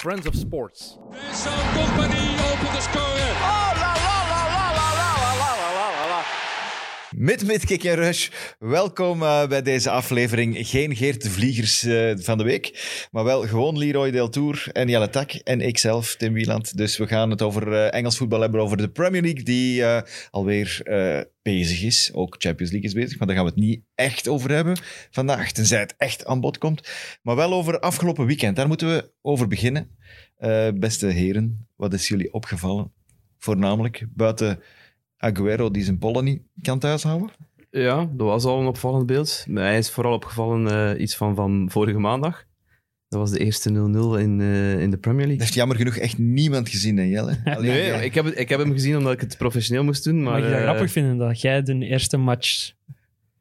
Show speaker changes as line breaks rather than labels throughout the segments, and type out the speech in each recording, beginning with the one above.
Friends of Sports.
Vincent Company opent de score. Oh, la la la la la la la la la la.
Mit, mit, kick en rush. Welkom eh, bij deze aflevering. Geen Geert de Vliegers eh, van de week, maar wel gewoon Leroy Deltour en Jelle Tak en ikzelf, Tim Wieland. Dus we gaan het over eh, Engels voetbal hebben, over de Premier League, die eh, alweer eh, bezig is. Ook Champions League is bezig, maar daar gaan we het niet echt over hebben vandaag, tenzij het echt aan bod komt. Maar wel over afgelopen weekend, daar moeten we over beginnen. Eh, beste heren, wat is jullie opgevallen? Voornamelijk buiten Aguero die zijn pollen niet kan thuishouden.
Ja, dat was al een opvallend beeld. Maar hij is vooral opgevallen eh, iets van, van vorige maandag. Dat was de eerste 0-0 in, eh, in de Premier
Dat
League.
heeft jammer genoeg echt niemand gezien, hè, Jelle? Alleen
Nee,
jij.
ik heb, het- ik heb hem gezien omdat ik het professioneel moest doen. Maar,
Mag je dat
eh,
grappig vinden dat jij de eerste match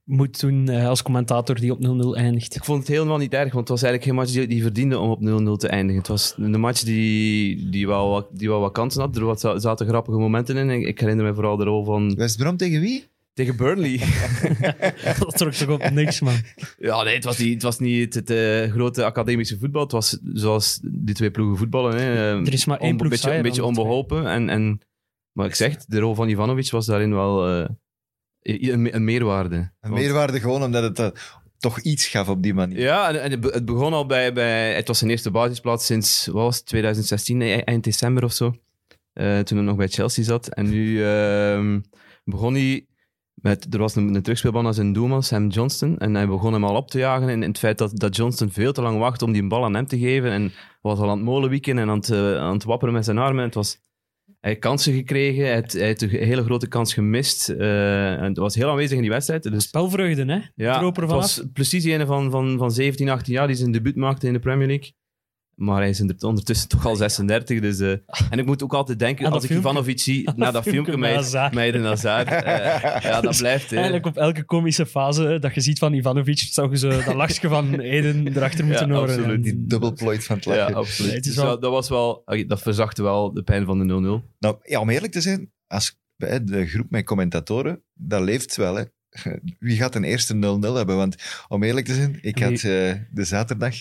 moet doen eh, als commentator die op 0-0 eindigt?
ik vond het helemaal niet erg, want het was eigenlijk geen match die, die verdiende om op 0-0 te eindigen. Het was een match die, die, wel, wat- die wel wat kansen had. Er wat, zaten grappige momenten in. Ik, ik herinner me vooral de rol van...
West Brom tegen wie?
Tegen Burnley.
Dat trok toch op niks, man.
Ja, nee, het was niet het, was niet het, eh, grote academische voetbal. Het was zoals die twee ploegen voetballen. Hè.
Er is maar één
Onbe-
ploeg
beetje,
saaier
een beetje
dan de twee.
onbeholpen. En, en, maar ik zeg, de rol van Ivanovic was daarin wel eh, i- een, me- een meerwaarde.
Een
Want-
meerwaarde gewoon omdat het eh, toch iets gaf op die manier.
Ja, en, en het be- het begon al bij, bij... Het was zijn eerste basisplaats sinds, wat was het, 2016, e- eind december of zo. Eh, toen hij nog bij Chelsea zat. En nu ehm, begon hij... Met, er was een, een terugspeelbal naar zijn doelman, Sam Johnston. En hij begon hem al op te jagen in, in het feit dat, dat Johnston veel te lang wacht om die bal aan hem te geven. En was al aan het molenwieken en aan het, eh, aan het wapperen met zijn armen. En het was, hij had kansen gekregen, hij had, hij had een hele grote kans gemist. eh, en het was heel aanwezig in die wedstrijd. Dus
Spelvreugde, hè?
ja,
droop er
het
vanaf.
was precies die ene van, van, van 17, 18 jaar die zijn debuut maakte in de Premier League. Maar hij is onder- ondertussen toch al 36. Dus, eh, en ik moet ook altijd denken,
Aan dat
als ik
filmpje.
Ivanovic zie,
Aan
na
dat
dat
filmpje
filmpje
bij
met
Hazard.
Meiden Hazard. eh, ja, dat
Dus
blijft. hè.
Eigenlijk op elke komische fase eh, dat je ziet van Ivanovic, zou je zo dat lachje van Eden erachter moeten
Ja,
horen.
absoluut.
Die dubbelplooit van het
Ja,
lachen.
absoluut.
Nee, het is
Dus
wel-
dat, dat was wel, oké, dat verzachtte wel de pijn van de 0-0.
Nou, ja, om eerlijk te zijn, als, bij de groep met commentatoren, dat leeft wel. Hè. Wie gaat een eerste 0-0 hebben? Want om eerlijk te zijn, ik had eh, de zaterdag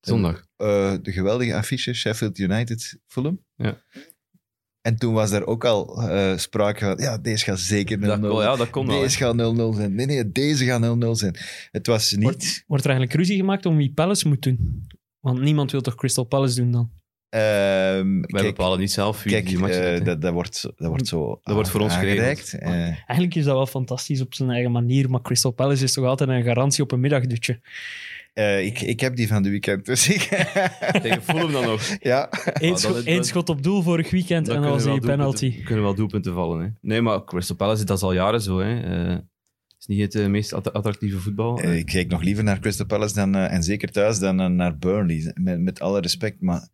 Zondag.
eh, de geweldige affiche Sheffield United Fulham.
Ja.
En toen was daar ook al eh, sprake van, ja, deze gaat zeker 0-0
Dat, kon- ja, dat kon wel. hè.
Deze gaat 0-0 zijn. Nee, nee, deze gaat 0-0 zijn. Het was niet...
Wordt, wordt er eigenlijk ruzie gemaakt om wie Palace moet doen? Want niemand wil toch Crystal Palace doen dan?
ehm,
Wij
kijk,
bepalen niet zelf wie
kijk
die match
eh,
doet, hè.
dat, dat, wordt, zo- dat wordt zo aan-
wordt voor ons
aangereikt. Eh,
Eigenlijk is dat wel fantastisch op zijn eigen manier, maar Crystal Palace is toch altijd een garantie op een middagdutje.
eh, ik, ik heb die van de weekend, dus ik...
Tegen Fulham dan nog.
ja.
Eén
dat is-
schot, één schot op doel vorig weekend
Dan
en dan was
kunnen
die
wel doelpunten-
penalty.
Kunnen wel doelpunten vallen. Hè? Nee, maar Crystal Palace, dat is al jaren zo. Hè? Eh, is niet het eh, meest att- attractieve voetbal.
Eh, Ik kijk nog liever naar Crystal Palace dan, eh, en zeker thuis dan eh, naar Burnley. Met, met alle respect, maar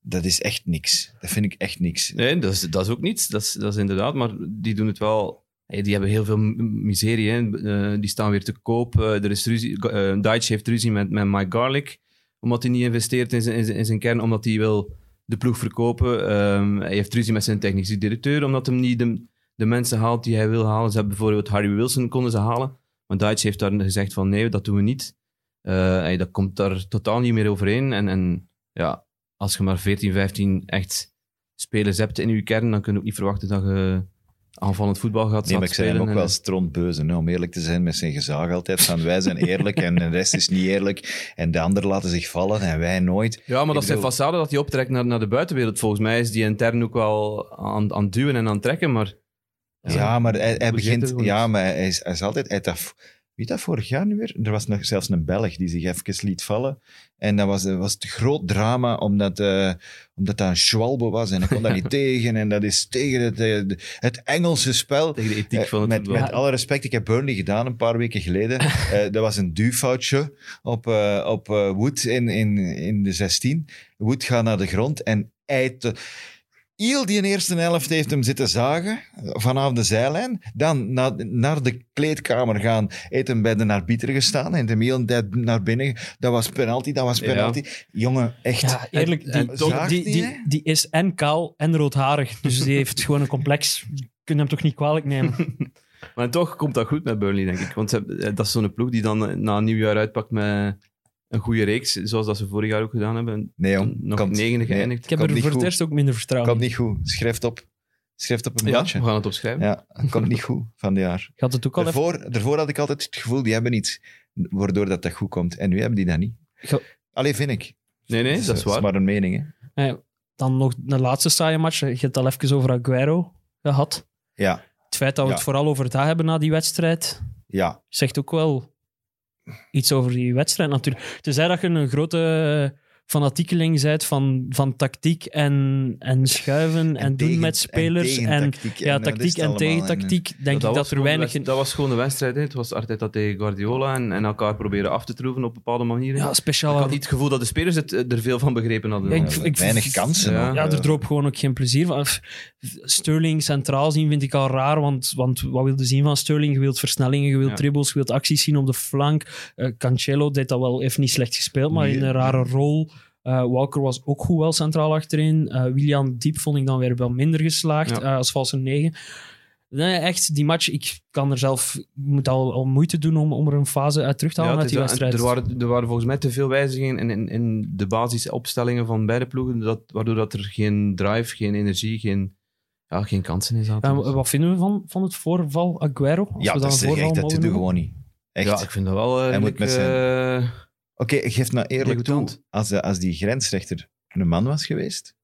dat is echt niks. Dat vind ik echt niks.
Nee, dat is, dat is ook niets. Dat is, dat is inderdaad, maar die doen het wel. Hey, die hebben heel veel m- miserie. Hè? Eh, die staan weer te koop. Eh, er is ruzie. eh Deitch heeft ruzie met, met Mike Garlic. Omdat hij niet investeert in zijn, in zijn, in zijn kern, omdat hij wil de ploeg verkopen. Ehm, hij heeft ruzie met zijn technische directeur, omdat hem niet de, de mensen haalt die hij wil halen. Ze hebben bijvoorbeeld Harry Wilson konden ze halen. Maar Deitch heeft daar gezegd van nee, dat doen we niet. Eh, hey, dat komt daar totaal niet meer overeen. En, en ja, als je maar 14, 15 echt spelers hebt in je kern, dan kun je ook niet verwachten dat je aanvallend voetbal gaat
Nee,
gaat
maar ik zei hem
spelen.
ook
En-
wel strontbeuzen, hè, om eerlijk te zijn met zijn gezag altijd. Van wij zijn eerlijk en de rest is niet eerlijk. En de anderen laten zich vallen en wij nooit.
Ja, maar
Ik
dat is zijn
bedoel-
façade dat hij optrekt naar, naar de buitenwereld. Volgens mij is die intern ook wel aan, aan het duwen en aan het trekken, maar...
Ja, maar hij,
Hoe
hij
zit
begint...
het gewoon?
Ja, maar hij is, hij is altijd... Hij dat, wie dat vorig jaar nu weer? Er was nog zelfs een Belg die zich even liet vallen. En dat was, dat was het groot drama, omdat, eh, omdat dat een schwalbe was. En hij kon daar niet tegen. En dat is tegen het, eh, het Engelse spel.
Tegen de ethiek
Eh,
van het
met,
voetbal.
met alle respect, ik heb Burnley gedaan een paar weken geleden. Eh, dat was een duwfoutje op, eh, op eh, Wood in, in, in de 16. Wood gaat naar de grond en eit. Iel die in de eerste helft heeft hem zitten zagen vanaf de zijlijn. Dan na, naar de kleedkamer gaan, heeft hem bij de arbiter gestaan. En de heel de tijd naar binnen. Dat was penalty, dat was
Ja.
penalty. Jongen, echt.
Ja, eerlijk, die,
en
toch-
die, die,
Zaagt die,
die, die is en kaal en roodharig, dus die heeft gewoon een complex. Je kunt hem toch niet kwalijk nemen?
Maar toch komt dat goed met Burnley, denk ik. Want ze hebben- eh, dat is zo'n ploeg die dan eh, na een nieuw jaar uitpakt met een goede reeks, zoals dat ze vorig jaar ook gedaan hebben.
Nee, jong.
Toen nog
Komt-
negende
nee.
geëindigd.
Ik heb
Komt
er
niet
voor het
goed.
eerst ook minder vertrouwen
Komt
in.
niet goed. Schrijf het op. Schrijf het op een
Ja, we
blaadje.
gaan het opschrijven.
Ja, komt niet goed van dit jaar.
Ik had het ook al even...
Daarvoor, daarvoor had ik altijd het gevoel, die hebben iets waardoor dat, dat goed komt. En nu hebben die dat niet.
Ge-
Allee, vind ik.
Nee, nee,
Dus,
dat is
eh,
waar.
maar een mening, hè.
Eh, Dan nog een laatste saaie match. Je hebt het al even over Aguero gehad.
Ja,
Het feit dat we
Ja.
het vooral over het haar hebben na die wedstrijd,
ja.
zegt ook wel iets over die wedstrijd natuurlijk. Tenzij dat je een grote eh, fanatiekeling bent van, van tactiek en, en schuiven en, doen
tegen-
met spelers. En,
tegentactiek
ja,
dat eh, is
tactiek
het
en
allemaal.
tegentactiek. Denk ik
was
dat er
gewoon de
weinig...
wedst- dat was gewoon de wedstrijd. hè. Het was Arteta tegen Guardiola en, en elkaar proberen af te troeven op bepaalde manieren.
Ja,
ik
speciaal...
had niet het gevoel dat de spelers het, eh, er veel van begrepen hadden.
Ja,
En,
ik-
ja,
ik-
weinig kansen.
Ja.
ook,
Ja,
eh.
er droop gewoon ook geen plezier van. F- Sterling centraal zien vind ik al raar, want, want wat wilde zien van Sterling? Je wilt versnellingen, je wilt
Ja.
dribbles, je wilt acties zien op de flank. Eh, Cancelo deed dat wel, heeft niet slecht gespeeld, maar
Nee,
in een rare rol. Eh, Walker was ook goed wel centraal achterin. Eh, William Diep vond ik dan weer wel minder geslaagd
Ja.
eh, als valse negen. Nee, echt, die match, ik kan er zelf, ik moet al, al moeite doen om, om er een fase uit terug te
Ja,
halen
het
uit die
is wel-
wedstrijd.
Er waren, er waren volgens mij te veel wijzigingen in, in, in de basisopstellingen van beide ploegen, dat, waardoor dat er geen drive, geen energie, geen, ja, geen kansen in zaten.
En wa- wat vinden we van, van het voorval Aguero? Als
Ja,
we
dat is
een voorval
echt, dat
mogen
doe
noemen?
gewoon niet. Echt.
Ja, ik vind dat wel... eh,
Hij moet
redelijk,
met
eh,
Oké, geef nou eerlijk toe,
Degoûtant.
als, eh, als die grensrechter een man was geweest,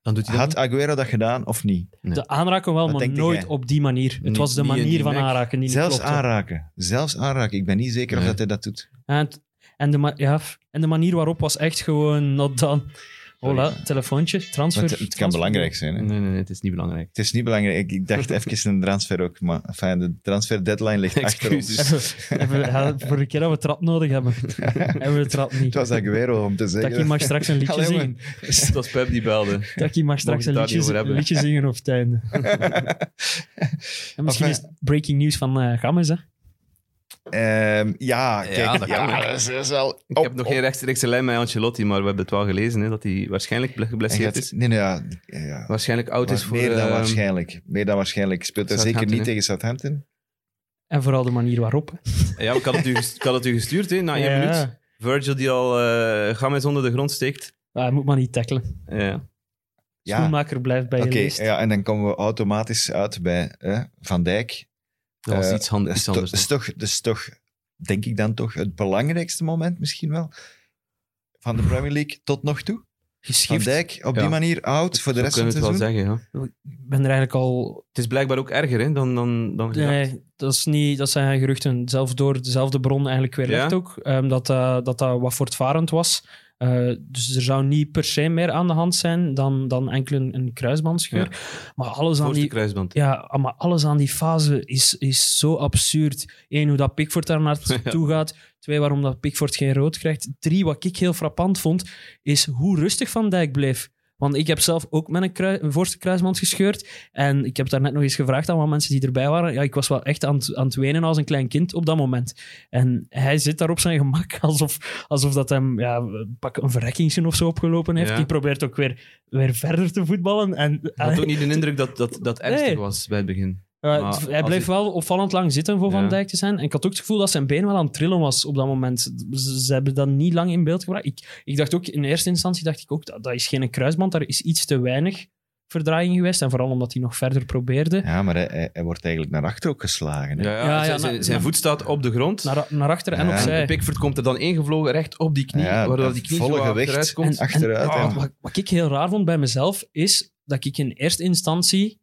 dan doet hij dat
had Aguero dat gedaan of niet?
De aanraken wel,
Wat
maar
denk
nooit
jij?
op die manier. Het
Niet-
was de
niet in die
manier van
nek.
aanraken die niet
Zelfs
klopte.
aanraken. Zelfs aanraken. Ik ben niet zeker of
Nee.
dat hij dat doet.
En, het- en, de ma- ja, en de manier waarop was echt gewoon not done.
Sorry.
Hola, telefoontje, transfer.
Want het, het kan
transfer.
belangrijk zijn. Hè?
niet. Nee, nee, nee, het is niet belangrijk.
Het is niet belangrijk. Ik, ik dacht even een transfer ook, maar enfin, de transfer deadline ligt achter ons.
Excuses.
Even- even- ja, voor een keer dat we trap nodig hebben, hebben we de trap niet.
Het was Aguero om te zeggen.
Taki mag straks een liedje
Allee, man.
zingen.
Het was Pep die belde.
Taki mag straks
het
een
daar
liedje,
niet over
zi-
hebben.
liedje zingen op het einde. En misschien
Enfin.
is het breaking news van eh Gammes, hè?
Ehm, ja, kijk, ja,
Ja,
dat,
dat kan ook.
is, dat is wel.
Ik heb
oh,
nog geen rechtstreekse lijn met Ancelotti, maar we hebben het wel gelezen, hè, dat hij waarschijnlijk ble- geblesseerd is.
Nee, nee, ja. ja.
Waarschijnlijk oud
Maar
is voor...
meer dan
eh,
waarschijnlijk. Meer dan waarschijnlijk. Speelt hij zeker
Southampton,
niet
hè?
tegen Southampton?
En vooral de manier waarop. hè.
Ja, ik had het u, ges- ik had het u gestuurd, hè,
Nou,
na één
Ja.
minuut. Virgil die al eh Games onder de grond steekt.
Ah, moet maar niet tackelen.
Ja.
Ja.
Schoenmaker blijft bij
Oké,
je list.
ja, en dan komen we automatisch uit bij hè, Van Dijk.
Dat was
Eh,
iets, hand-
Dat is,
iets
toch-
anders.
dat is toch, dat is toch, denk ik dan toch, het belangrijkste moment misschien wel van de Premier League tot nog toe. Van
Geschift.
Dijk op
Ja.
die manier oud Dus voor de
Zo
rest van het
kunnen we
seizoen.
het wel zeggen, ja.
Ik ben er eigenlijk al
Het is blijkbaar ook erger hè, dan, dan, dan gedacht.
Nee, dat, is niet, dat zijn geruchten. Zelf door dezelfde bron eigenlijk weer
Ja?
legt ook. ehm, dat, eh, dat dat wat voortvarend was. Eh, dus er zou niet per se meer aan de hand zijn dan, dan enkel een, een kruisbandscheur. Maar, alles aan
Voorste
die,
kruisband.
ja, ah, maar alles aan die fase is, is zo absurd. Eén, hoe dat Pickford daar naartoe gaat. Twee, waarom dat Pickford geen rood krijgt. Drie, wat ik heel frappant vond, is hoe rustig Van Dijk bleef. Want ik heb zelf ook met een, krui- een voorste kruisband gescheurd. En ik heb daar net nog eens gevraagd aan wat mensen die erbij waren. Ja, ik was wel echt aan het, aan het wenen als een klein kind op dat moment. En hij zit daar op zijn gemak, alsof, alsof dat hem ja, pak een verrekking of zo opgelopen heeft.
Ja.
Die probeert ook weer, weer verder te voetballen. En,
Ik had ook niet de indruk dat dat, dat ernstig
Nee.
was bij het begin.
ja,
Maar
het- hij
als
bleef
ik-
wel opvallend lang zitten voor Van
Ja.
Dijk te zijn. En ik had ook het gevoel dat zijn been wel aan het trillen was op dat moment. Ze, ze hebben dat niet lang in beeld gebracht. Ik, ik dacht ook, in eerste instantie dacht ik ook, dat, dat is geen kruisband, daar is iets te weinig verdraaiing geweest. En vooral omdat hij nog verder probeerde.
Ja, maar hij, hij, hij wordt eigenlijk naar achter ook geslagen. hè.
Ja, ja,
Ja,
zijn,
ja,
zijn-
na-
zijn
na-
voet staat op de grond.
Naar, naar achter en
Ja.
opzij.
Pickford komt er dan ingevlogen recht op die knie,
Ja,
waardoor
het
die knie
volle
zo
gewicht.
achteruit
En-
komt.
en-
achteruit,
ah,
ja.
wat, wat ik heel raar vond bij mezelf, is dat ik in eerste instantie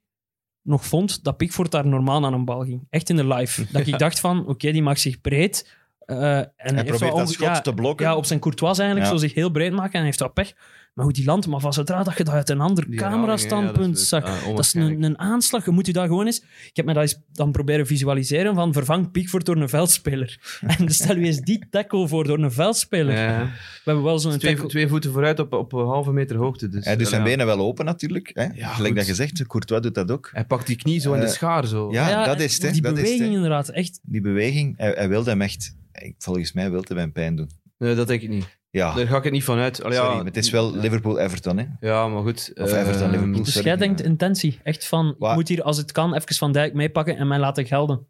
nog vond dat Pickford daar normaal aan een bal ging. Echt in de live. Dat ik dacht van, oké, die maakt zich breed. eh, en
Hij
heeft wel
probeert dat
onge-
schot
ja,
te blokken.
Ja, op zijn Courtois eigenlijk,
Ja.
zo zich heel breed maken en heeft dat pech. Maar hoe die landt, maar van zodra dat je dat uit een ander
Die
camerastandpunt
herhalingen,
zag,
ja, dat is- ah,
dat is een, een aanslag. Je moet je dat gewoon eens... Ik heb me dat eens dan proberen visualiseren van vervang Pickford door een veldspeler. en stel je eens die tackle voor door een veldspeler.
Ja, ja.
We hebben wel zo'n
twee,
tackle...
twee voeten vooruit op, op een halve meter hoogte. Dus,
Hij doet zijn
ja.
benen wel open natuurlijk. Hè? Gelijk
goed.
dat gezegd, Courtois doet dat ook.
Hij pakt die knie zo in de
Eh,
schaar. Zo.
Ja, dat is het. hè.
Die
dat is het,
beweging
hè.
inderdaad, echt.
Die beweging, hij, hij wilde hem echt... hij- Volgens mij wilde hij hem pijn doen.
Nee, dat denk ik niet.
Ja,
Daar ga ik het niet van uit. Allee,
sorry,
ja,
maar het is wel Liverpool-Everton. hè.
Ja, maar goed.
Of
eh,
Everton, Liverpool.
Dus
Sorry,
jij
ja.
denkt intentie, echt van, ik
Wa-
moet hier als het kan even Van Dijk meepakken en mij laten gelden.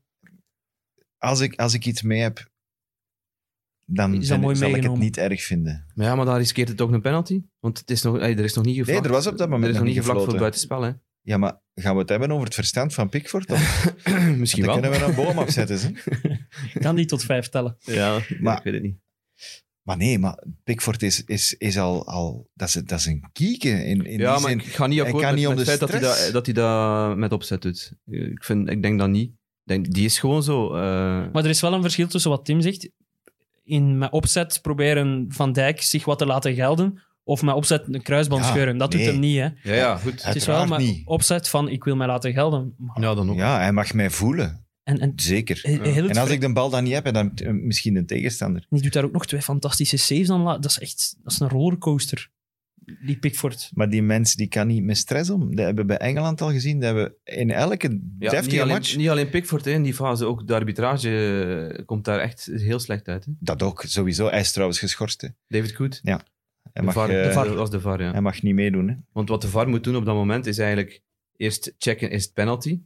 Als ik, als ik iets mee heb, dan
Is dat
ben-
mooi
zal ik het
meegenomen?
niet erg vinden.
Maar ja, maar daar riskeert het ook een penalty. Want het is nog, hey, er is nog niet gevlakt.
Nee, er was op dat moment
Er is
nog
nog
niet
niet gevlakt voor
gefloten.
buitenspel, hè.
Ja, maar gaan we het hebben over het verstand van Pickford? Of-
Misschien
Dan
wel.
kunnen we een boom opzetten. Hè?
Kan die tot vijf tellen?
Ja,
Maar-
maar, ik weet het niet.
Maar nee, maar Pickford is, is, is al, al dat, is, dat is een kieken in, in
ja,
die
maar
zin.
ik ga niet
hij
akkoord
kan
met,
niet om
met
de
het feit dat hij,
stress.
dat, dat hij dat met opzet doet. Ik, vind, ik denk dat niet. Ik Denk, die is gewoon zo. eh,
Maar er is wel een verschil tussen wat Tim zegt. In met opzet proberen Van Dijk zich wat te laten gelden. Of met opzet een kruisband
Ja,
scheuren. Dat
nee.
doet hem niet, hè.
ja, ja, goed.
Het is wel
Uiteraard
met
niet.
opzet van ik wil mij laten gelden. Maar-
Ja, dan ook.
Ja, hij mag mij voelen.
En, en,
Zeker.
he- heel het
En als
ver-
ik de bal dan niet heb, en dan eh, misschien een tegenstander.
Die doet daar ook nog twee fantastische saves aan. la- Dat is echt dat is een rollercoaster, die Pickford.
Maar die mens die kan niet met stress om. Dat hebben we bij Engeland al gezien. Dat hebben we in elke
Ja, niet,
deftige
alleen,
match.
niet alleen Pickford hè, in die fase, ook de arbitrage eh, komt daar echt heel slecht uit. Hè.
Dat ook, sowieso. Hij is trouwens geschorst. hè.
David Good,
Hij,
de
mag,
VAR,
eh,
de VAR was de VAR. Ja.
hij mag niet meedoen. Hè.
Want wat de VAR moet doen op dat moment is eigenlijk eerst checken is het penalty,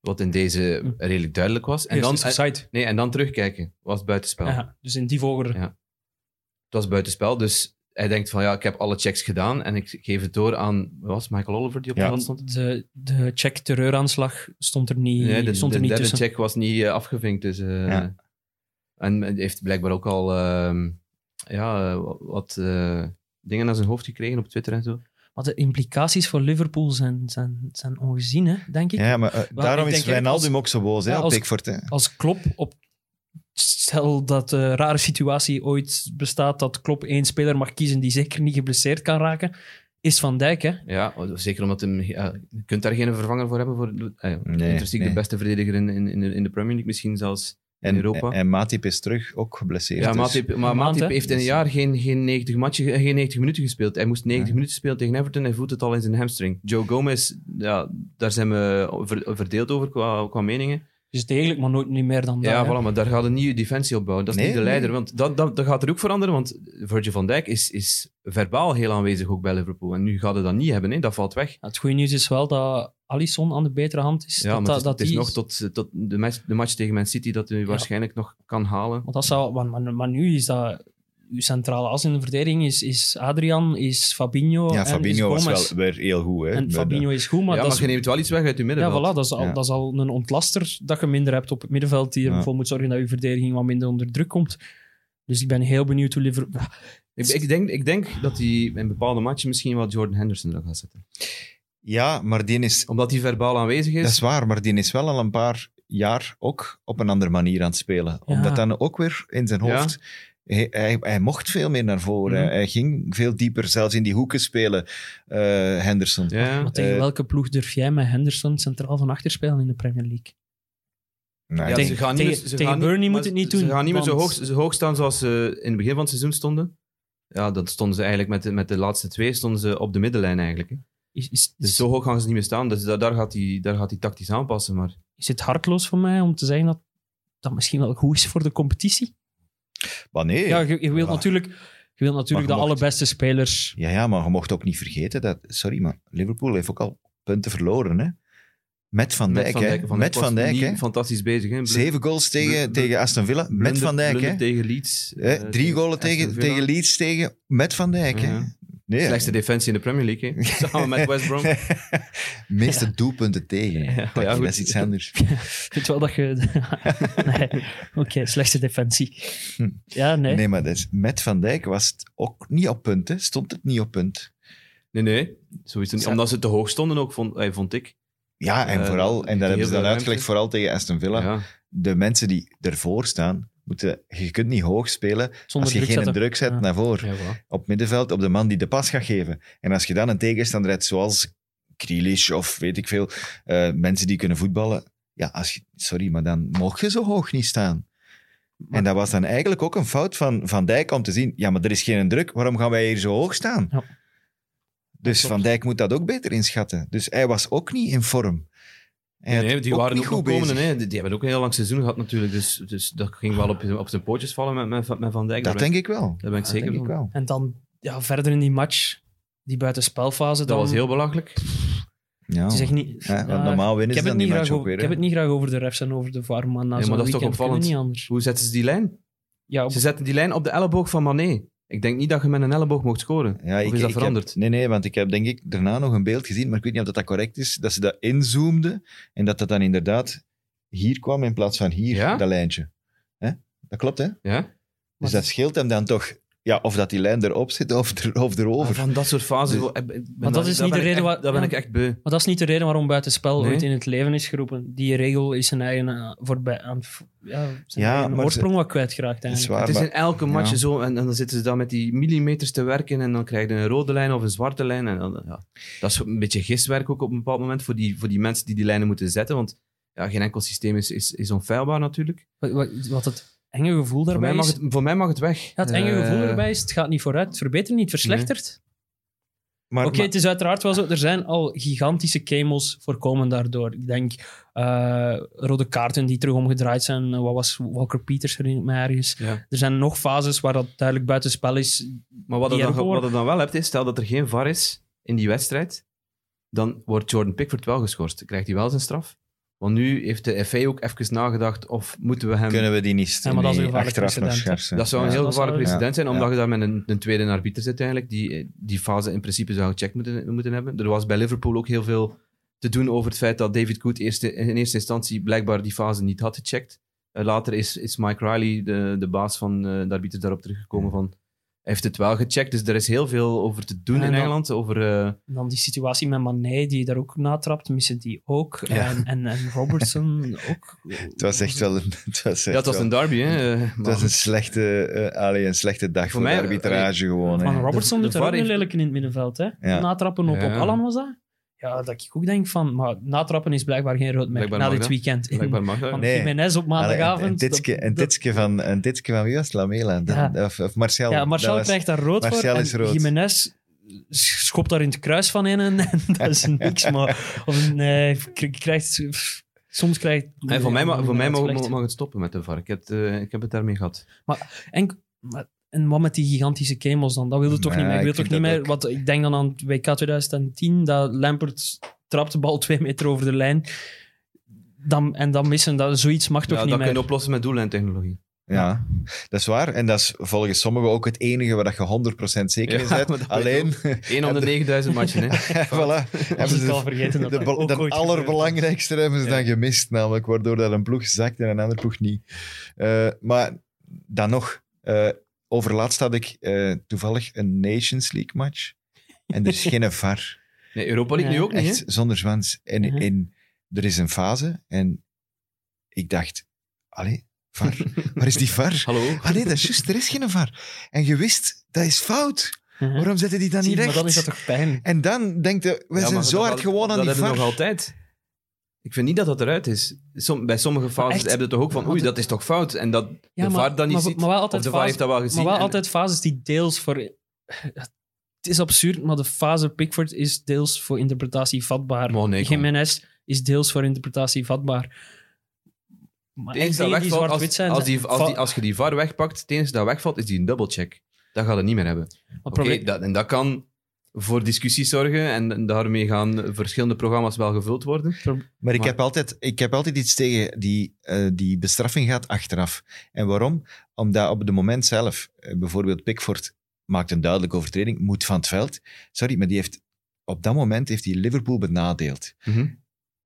wat in
Hm.
deze redelijk duidelijk was, en, dan,
site.
nee, en dan terugkijken, was het buitenspel.
Ja, dus in die volgorde.
Ja. Het was buitenspel, dus hij denkt van ja, ik heb alle checks gedaan en ik geef het door aan, wat was het, Michael Oliver die op
Ja.
de hand stond?
De, de check terreuraanslag stond er niet,
Nee, de,
stond er
de
niet
derde
tussen.
check was niet eh, afgevinkt. Dus, eh,
Ja.
En men heeft blijkbaar ook al ehm, ja, eh, wat- wat eh, dingen naar zijn hoofd gekregen op Twitter en zo.
Maar de implicaties voor Liverpool zijn, zijn, zijn ongezien, hè, denk ik.
Ja, maar eh,
ik
daarom is
denk eigenlijk
Wijnaldum ook zo boos hè,
Ja,
op
als-
Pickford. Hè.
Als Klop op... Stel dat de rare situatie ooit bestaat dat Klop één speler mag kiezen die zeker niet geblesseerd kan raken, is Van Dijk, hè.
Ja, zeker omdat hem, ja, je kunt daar geen vervanger voor hebben. Voor, eh,
Nee,
intrinsiek
nee.
de beste verdediger in, in, in de- in de Premier League, misschien zelfs in
En,
Europa.
en Matip is terug, ook geblesseerd.
ja,
dus-
Matip, maar
Een maand,
Matip
hè?
heeft in een
Dus-
jaar geen, geen, 90 matchen, geen 90 minuten gespeeld. Hij moest 90
Ja.
minuten spelen tegen Everton. Hij voelt het al in zijn hamstring. Joe Gomez, ja, daar zijn we ver- verdeeld over qua, qua meningen.
Dus degelijk, maar nooit niet meer dan dat.
Ja,
hè.
voilà, maar daar gaat een nieuwe defensie op bouwen. Dat is
Nee,
niet de leider.
nee.
Want dat, dat, dat gaat er ook veranderen. Want Virgil van Dijk is, is verbaal heel aanwezig ook bij Liverpool. En nu gaat hij dat niet hebben. Hè? Dat valt weg.
Het goede nieuws is wel dat Alisson aan de betere hand is.
Ja,
dat,
maar
dat,
het is,
dat
het is
die-
nog tot, eh, tot de, match, de match tegen Man City dat hij waarschijnlijk nog kan halen.
Want dat zou, Oh, maar, maar, maar nu is dat... Uw centrale as in de verdediging is, is Adrian, is Fabinho
Ja,
en is
Fabinho was
Gomez.
wel weer heel goed. Hè, bij
En
de-
Fabinho is goed, maar
ja,
dat
maar
is...
je neemt wel iets weg uit je
Ja,
middenveld.
voilà, dat is, al,
Ja.
dat is al een ontlaster dat je minder hebt op het middenveld, die
Ja.
ervoor moet zorgen dat je verdediging wat minder onder druk komt. Dus ik ben heel benieuwd hoe Liverpool...
ik, ik, denk, ik denk dat hij in bepaalde matchen misschien wel Jordan Henderson er gaat zetten.
Ja, maar die is...
Omdat hij verbaal aanwezig is.
Dat is waar, maar die is wel al een paar jaar ook op een andere manier aan het spelen. Omdat dan ook weer in zijn
Ja.
hoofd... Hij, hij, hij mocht veel meer naar voren.
Mhm.
Hij, hij ging veel dieper, zelfs in die hoeken spelen, eh, Henderson.
ja.
Maar tegen
Eh.
welke ploeg durf jij met Henderson centraal van achter spelen in de Premier League?
Nee,
Ja,
Tegen-
ze gaan
tegen-
niet meer, ze
tegen
gaan niet-
Burnley
maar
moet het niet
Ze
doen,
gaan niet meer zo, hoog,
want-
zo hoog staan zoals ze in het begin van het seizoen stonden. Ja, dat stonden ze eigenlijk met de, met de laatste twee stonden ze op de middenlijn eigenlijk. hè.
Is, is,
Dus
is,
zo hoog gaan ze niet meer staan. Dus da- daar, gaat hij, daar gaat hij tactisch aanpassen. Maar
is het hartloos van mij om te zeggen dat dat misschien wel goed is voor de competitie?
maar nee.
Ja,
Ja,
je, je wilt
Ja.
natuurlijk, je wilt natuurlijk
Maar
de
je mocht-
allerbeste spelers.
ja, maar je mocht ook niet vergeten dat... Sorry, maar Liverpool heeft ook al punten verloren, hè. Met Van Dijk, hè. met
was
Van Dijk,
niet
hè.
fantastisch bezig. Hè. Blu-
Zeven goals
Blunder-
tegen, tegen Aston Villa. Met
blunder-
Van Dijk,
blunder
hè.
tegen Leeds.
Hè,
eh,
Drie goals
Aston
tegen,
Villa.
tegen Leeds tegen. Met Van Dijk, hè.
Ja.
Nee.
Slechtste defensie in de Premier League, hè. samen met West Brom.
meeste doelpunten tegen.
Ja,
Kijk,
ja,
dat
goed.
is iets anders.
Ik vind wel dat je... nee, oké, slechte defensie. Ja, nee.
Hm. Nee, maar dat is, met Van Dijk was het ook niet op punt. Hè. Stond het niet op punt.
Nee, nee, sowieso niet.
Ze-
Omdat ze te hoog stonden ook, vond, eh, vond ik.
Ja, en
Eh,
vooral, en
heel
dat hebben ze
veel
dan
ruimte.
uitgelegd, vooral tegen Aston Villa.
ja.
De mensen die ervoor staan, moeten, je kunt niet hoog spelen
Zonder
als je
druk
geen
zetten.
druk zet
Ja.
naar voren.
Ja, voilà.
Op middenveld, op de man die de pas gaat geven. En als je dan een tegenstander hebt, zoals Grealish of weet ik veel, eh, mensen die kunnen voetballen. Ja, als je, sorry, maar dan mocht je zo hoog niet staan.
Maar-
en dat was dan eigenlijk ook een fout van Van Dijk om te zien, ja, maar er is geen druk, waarom gaan wij hier zo hoog staan?
Ja.
Dus
klopt.
Van Dijk moet dat ook beter inschatten. Dus hij was ook niet in vorm. Hij
nee,
had
die waren
niet
ook goed
bezig.
komende. Hè. Die, die hebben ook een heel lang seizoen gehad natuurlijk. Dus, dus dat ging wel op, zijn- op zijn pootjes vallen met, met, Van- met Van Dijk.
Dat
daar ben,
denk ik wel.
daar ben ik
Dat
zeker
denk
van.
ik wel.
En dan ja, verder in die match, die buitenspelfase.
Dat
dan,
was heel belachelijk.
Ja.
Het is echt niet...
Ja, want
ja,
normaal
ah, ik
winnen ze
heb, het niet
dan die
graag
match ook
over,
weer.
ik heb
hè.
het niet graag over de refs en over de VAR, maar na
Nee,
zo'n
maar dat is
weekend
toch
kunnen we
opvallend.
niet anders.
Hoe zetten ze die lijn?
Ja, op-
Ze zetten die lijn op de elleboog van Mané. Ik denk niet dat je met een elleboog mocht scoren.
Ja,
of is dat
heb-
veranderd?
nee, nee, want ik heb denk ik daarna nog een beeld gezien, maar ik weet niet of dat, dat correct is, dat ze dat inzoomden en dat dat dan inderdaad hier kwam in plaats van hier,
Ja?
dat lijntje. Hè? Dat klopt, hè?
Ja?
Dus
Maar-
dat scheelt hem dan toch, ja, of dat die lijn erop zit of, er, of
Ah,
erover.
Ah, Van dat soort fases. eh,
Dus-
ik ben-
Maar dat is
daar
niet de
ben
reden
ik echt-
waar-
Daar ben
ja.
ik echt beu.
Maar dat is niet de reden waarom buitenspel
Nee.
ooit in het leven is geroepen. Die regel is zijn eigen, eh, voorbij, aan, v- ja, zijn
Ja,
eigen
maar
oorsprong wat kwijtgeraakt
Dat is
eigenlijk.
waar,
Het is
maar-
in elke match
ja.
zo. En, en dan zitten ze dan met die millimeters te werken. En dan krijg je een rode lijn of een zwarte lijn. En dan, ja. Dat is een beetje gistwerk ook op een bepaald moment voor die, voor die mensen die die lijnen moeten zetten. Want ja, geen enkel systeem is, is, is onfeilbaar natuurlijk.
Wat, wat- wat het enge gevoel
Voor
daarbij
mij, mag
is...
het, voor mij mag het weg.
ja, het enge
Eh,
gevoel erbij is, het gaat niet vooruit, het verbetert niet, het verslechtert.
Maar,
Oké, het is uiteraard wel zo. Er zijn al gigantische camels voorkomen daardoor. Ik denk eh, rode kaarten die terug omgedraaid zijn. Eh, Wat was Walker Peters herinner ik mij ergens.
Ja.
Er zijn nog fases waar dat duidelijk buitenspel is.
Maar wat je
Die
dan,
ervoor-
wat je dan wel hebt, is stel dat er geen VAR is in die wedstrijd, dan wordt Jordan Pickford wel geschorst. Dan Krijgt hij wel zijn straf? Want nu heeft de FA ook even nagedacht of moeten we hem...
maar kunnen we die niet,
Ja, maar dat is
niet
een gevaarlijk
achteraf nog
precedent, hè.
scharsen?
Dat zou een
Ja.
heel
dat zou-
gevaarlijk precedent zijn,
Ja.
omdat je daar met een, een tweede arbiter zit eigenlijk, die die fase in principe zou gecheckt moeten, moeten hebben. Er was bij Liverpool ook heel veel te doen over het feit dat David Good eerste, in eerste instantie blijkbaar die fase niet had gecheckt. Eh, later is, is Mike Riley, de, de baas van eh, de arbiter, daarop teruggekomen van hij heeft het wel gecheckt, dus er is heel veel over te doen
En
in
dan-
Engeland. Over, eh,
En dan die situatie met Mané die daar ook natrapt, missen die ook.
Ja.
En, en, en Robertson ook.
Het was echt wel een... Het was,
ja,
echt
het was
wel-
een derby, hè. eh,
het
maar-
was een slechte, eh allee, een slechte dag voor,
Voor mij-
de arbitrage gewoon. hè.
Maar Robertson
de
doet daar ook
VAR
een
heeft-
lelijke in het middenveld. Hè?
eh, Ja.
Natrappen op, op
Ja.
Alan was dat? Ja, dat ik ook denk van... Maar natrappen is blijkbaar geen rood merk
Blijkbaar
na
mag
dit
dat.
weekend. In,
Blijkbaar mag dat.
Van
Nee.
Jiménez op
Allee, en-
maandagavond.
en Titske-
dat-
En
dat-
Titske van, en Titske van wie was het? Lamela? Dan-
Ja.
Of, of Marcel?
Ja, Marcel
Dat was-
krijgt daar rood
Martial
voor.
is
en
rood.
Jiménez schopt daar in het kruis van in en, en dat is niks. Maar of een, eh, k- krijgt, pff, soms krijgt...
En voor mij, ma- voor mij mag,
Slecht.
mag het stoppen met de VAR. Ik heb, het, eh, ik heb het daarmee gehad.
En, maar- en wat met die gigantische camels dan? Dat wilde toch
Nee,
niet meer. Ik wil toch
ik
niet
vind dat
meer...
ook.
Want ik denk dan aan het WK 2010, dat Lampert trapt de bal twee meter over de lijn. Dan, en dan missen, dat, zoiets mag toch
Ja,
niet
dat kun
meer.
je oplossen met doel en technologie.
Ja, dat is waar. En dat is volgens sommigen ook het enige waar dat je 100% zeker in
Ja,
bent.
maar dat
Alleen,
Eén op de 9000 matchen, hè.
voilà,
Dat
hebben
is
ze
het al
de,
vergeten. Dat
de,
dat
be-
ook
de
ooit gebeurde.
allerbelangrijkste hebben ze
Ja.
dan gemist, namelijk waardoor dat een ploeg zakt en een andere ploeg niet. Eh, maar dan nog, eh overlaatst had ik eh, toevallig een Nations League match. En er is geen VAR.
Nee, Europa League
Ja.
nu ook niet,
Echt
hè?
zonder zwans. En,
Mhm.
en er is een fase en ik dacht, allee, VAR, waar is die VAR?
Hallo?
Ah nee, dat is juist, er is geen VAR. En je wist, dat is fout.
Ja.
Waarom zetten die dat
Zie,
niet
maar
recht?
dan is dat toch pijn?
En dan denkt je, we
Ja,
zijn
maar
zo
dat-
hard gewoon aan
Dat
die
hebben
VAR.
we nog altijd. Ik vind niet dat dat eruit is. Som- bij sommige fases
echt?
hebben we toch ook van, oei,
Want-
dat is toch fout? En dat
Ja, maar-
de VAR dan niet
maar-
ziet.
maar wel
of
altijd
de VAR
fase-
heeft dat wel gezien.
Maar wel
en-
altijd fases die deels voor... Het is absurd, maar de fase Pickford is deels voor interpretatie vatbaar.
Maar nee, kom.
Jiménez is deels voor interpretatie vatbaar. Maar
Het enige
echt
dat
dingen die
wegvalt,
zwart-wit
als,
zijn...
als, die, als, die,
va-
als je die VAR wegpakt, het enige dat wegvalt is die dubbelcheck. Dat gaat het niet meer hebben.
maar
Oké,
probleem-
dat, en dat kan voor discussies zorgen en, en daarmee gaan verschillende programma's wel gevuld worden.
Maar ik
Maar-
heb, altijd, ik heb altijd iets tegen die, eh, die bestraffing gaat achteraf. En waarom? Omdat op het moment zelf, eh, bijvoorbeeld Pickford maakt een duidelijke overtreding, moet van het veld. Sorry, maar die heeft, op dat moment heeft hij Liverpool benadeeld.
Mhm.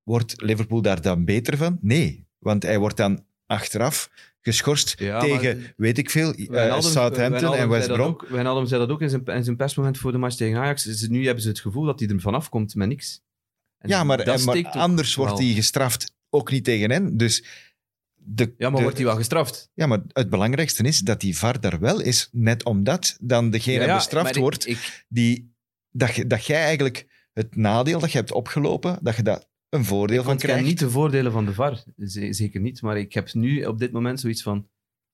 Wordt Liverpool daar dan beter van? Nee, want hij wordt dan achteraf geschorst
Ja,
tegen,
maar-
weet ik veel, eh,
Wijnaldum-
Southampton
Wijnaldum
en West
zei dat
Brom.
ook- Wijnaldum zei dat ook in zijn, in zijn persmoment voor de match tegen Ajax. Ze- nu hebben ze het gevoel dat hij er vanaf komt met niks. En
Ja, maar,
dat
en- maar
steekt ook
anders wordt
wel.
hij gestraft ook niet tegen hen. Dus de,
Ja, maar
de-
wordt hij wel gestraft?
ja, maar het belangrijkste is dat die VAR daar wel is, net omdat dan degene
Ja, ja, maar
bestraft
ik-
wordt
ik-
die, dat, je- dat jij eigenlijk het nadeel dat je hebt opgelopen, dat je daar een voordeel van
want ik ken
krijgt.
niet de voordelen van de VAR. Ze- zeker niet. Maar ik heb nu op dit moment zoiets van...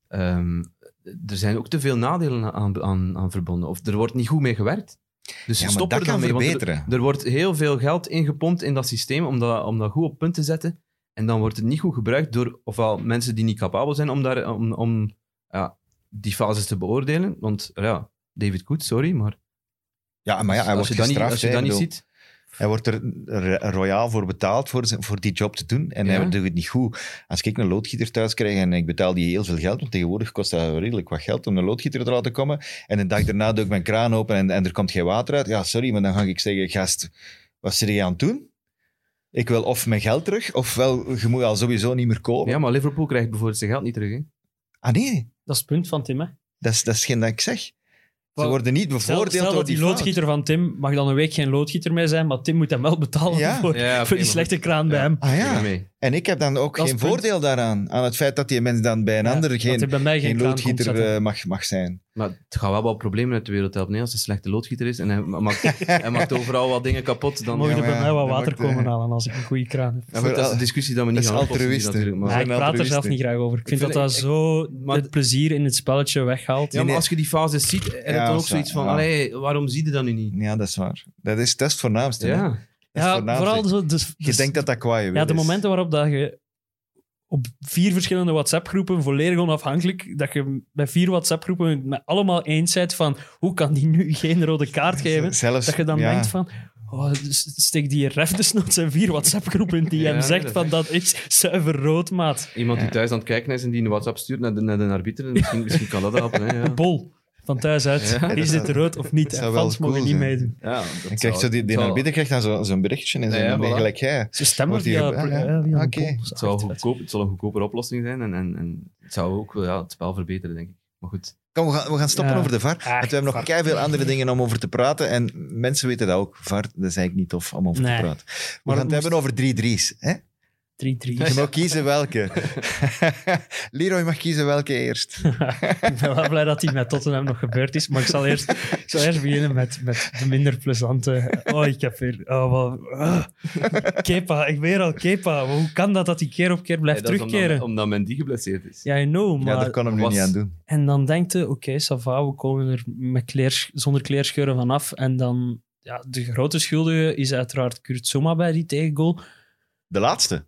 ehm, er zijn ook te veel nadelen aan, aan, aan verbonden. Of er wordt niet goed mee gewerkt. Dus
ja, maar
stop
dat
er dan
kan
mee. want er-
verbeteren.
Er wordt heel veel geld ingepompt in dat systeem om dat, om dat goed op punt te zetten. En dan wordt het niet goed gebruikt door ofwel mensen die niet capabel zijn om, daar, om, om ja, die fases te beoordelen. Want ja, David Koet, sorry, maar
Ja, maar ja, hij
als,
wordt
je dat niet,
gestraft.
als je
hè,
dat
ik
niet
bedoel.
ziet...
Hij wordt er ro- royaal voor betaald voor, zijn- voor die job te doen. En
Ja.
hij doet het niet goed. Als ik een loodgieter thuis krijg en ik betaal die heel veel geld, want tegenwoordig kost dat redelijk wat geld om een loodgieter eruit te komen. En een dag daarna doe ik mijn kraan open en, en er komt geen water uit. Ja, sorry, maar dan ga ik zeggen, gast, wat zit je aan het doen? Ik wil of mijn geld terug, ofwel je moet al sowieso niet meer komen.
Ja, maar Liverpool krijgt bijvoorbeeld zijn geld niet terug. Hè?
Ah nee,
Dat is het punt van Tim, hè.
dat is, dat is geen dat ik zeg. Ze
Wel,
worden niet
Stel,
bevoordeeld
stel
door
dat die
die fout.
loodgieter van Tim mag dan een week geen loodgieter meer zijn, maar Tim moet hem wel betalen
Ja.
voor,
Ja, oké,
voor die
maar
slechte kraan bij
Ja.
hem.
Ah
goed, ik ben
ja,
mee.
en ik heb dan ook
Dat is
geen
het punt.
voordeel daaraan. Aan het feit dat die mens dan bij een
Ja,
ander
dat
geen,
hij bij mij
geen
kraan komt
loodgieter
zetten.
eh, mag, mag zijn.
Maar het gaat wel wat problemen uit de wereld helpen. hè. als hij een slechte loodgieter is en hij maakt, hij maakt overal wat dingen kapot, dan...
Mogen
Ja,
er
maar
bij mij wat
dat
water
maakt, eh,
komen halen als ik een goede kraan heb.
Ja, goed, dat is een discussie dat we niet
Dat is
gaan oplossen hier
altruïsten.
natuurlijk, maar-
Ja, ik
zijn
praat er
altruïsten.
zelf niet graag over. Ik vind
vind-
dat dat
ik-
zo
maar-
het plezier in het spelletje weghaalt.
Ja, maar als je die fases ziet, heb je
Ja,
dan ook
dat is
zoiets
waar,
van,
ja.
allee, waarom zie je dat nu niet?
Ja, dat is waar. Dat is, dat is het voornaamste. hè. Dat
Ja.
is
Ja,
het voornaamste.
vooral zo... Dus,
Je denkt dat dat kwaai wil
Ja, de
is.
momenten waarop dat je op vier verschillende WhatsApp-groepen, volledig onafhankelijk, dat je bij vier WhatsApp-groepen het met allemaal eens bent van hoe kan die nu geen rode kaart geven?
Zelfs,
Dat je dan
ja.
denkt van... Oh, dus steek die ref dus desnoods en vier WhatsApp-groepen die
Ja,
hem
nee,
zegt
dat
van dat is zuiver rood, maat.
Iemand die thuis aan het kijken is en die een WhatsApp stuurt naar de, naar de arbiter, misschien, misschien kan dat helpen. Hè, ja.
Bol, van thuis uit.
Ja,
is
dat
dit
zou-
rood of niet? En
dat zou
Fans
wel cool
mogen niet
zijn.
meedoen.
Ja, dat
Dan
zou-
krijgt zo die, die
zou-
arbiter krijgt dan zo- zo'n berichtje en zijn
Ja, ja,
nee,
voilà.
gelijk jij.
Ze stemmen
Wordt hier-
via,
ah, ja.
eh, via een
Oké.
bol.
Het zou,
Echt vet.
goedkoop, het zal een goedkopere oplossing zijn en, en, en het zou ook wel, ja, het spel verbeteren, denk ik. Maar goed,
Kom, we gaan, we gaan stoppen
Ja.
over de VAR. want we hebben nog
VAR.
keiveel andere dingen om over te praten. En mensen weten dat ook. VAR, dat is eigenlijk niet tof om over
Nee.
te praten. We
Maar
gaan het
het
hebben over drie drie's. Hè?
3-3.
Je mag kiezen welke. Leroy mag kiezen welke eerst.
Ik ben wel blij dat die met Tottenham nog gebeurd is, maar ik zal eerst, ik zal eerst beginnen met, met de minder plezante. Oh, ik heb weer... Oh, wat, ah. Kepa, ik weer al Kepa. Maar Hoe kan dat dat hij keer op keer blijft
Ja, dat is
terugkeren?
Omdat, omdat men die geblesseerd is.
Ja, I know,
ja,
maar...
daar kan hem nu
was-
niet aan doen.
En dan denkt je, oké, Sava, we komen er met kleers, zonder kleerscheuren vanaf. En dan... Ja, de grote schuldige is uiteraard Kurt Soma bij die tegengoal.
De laatste.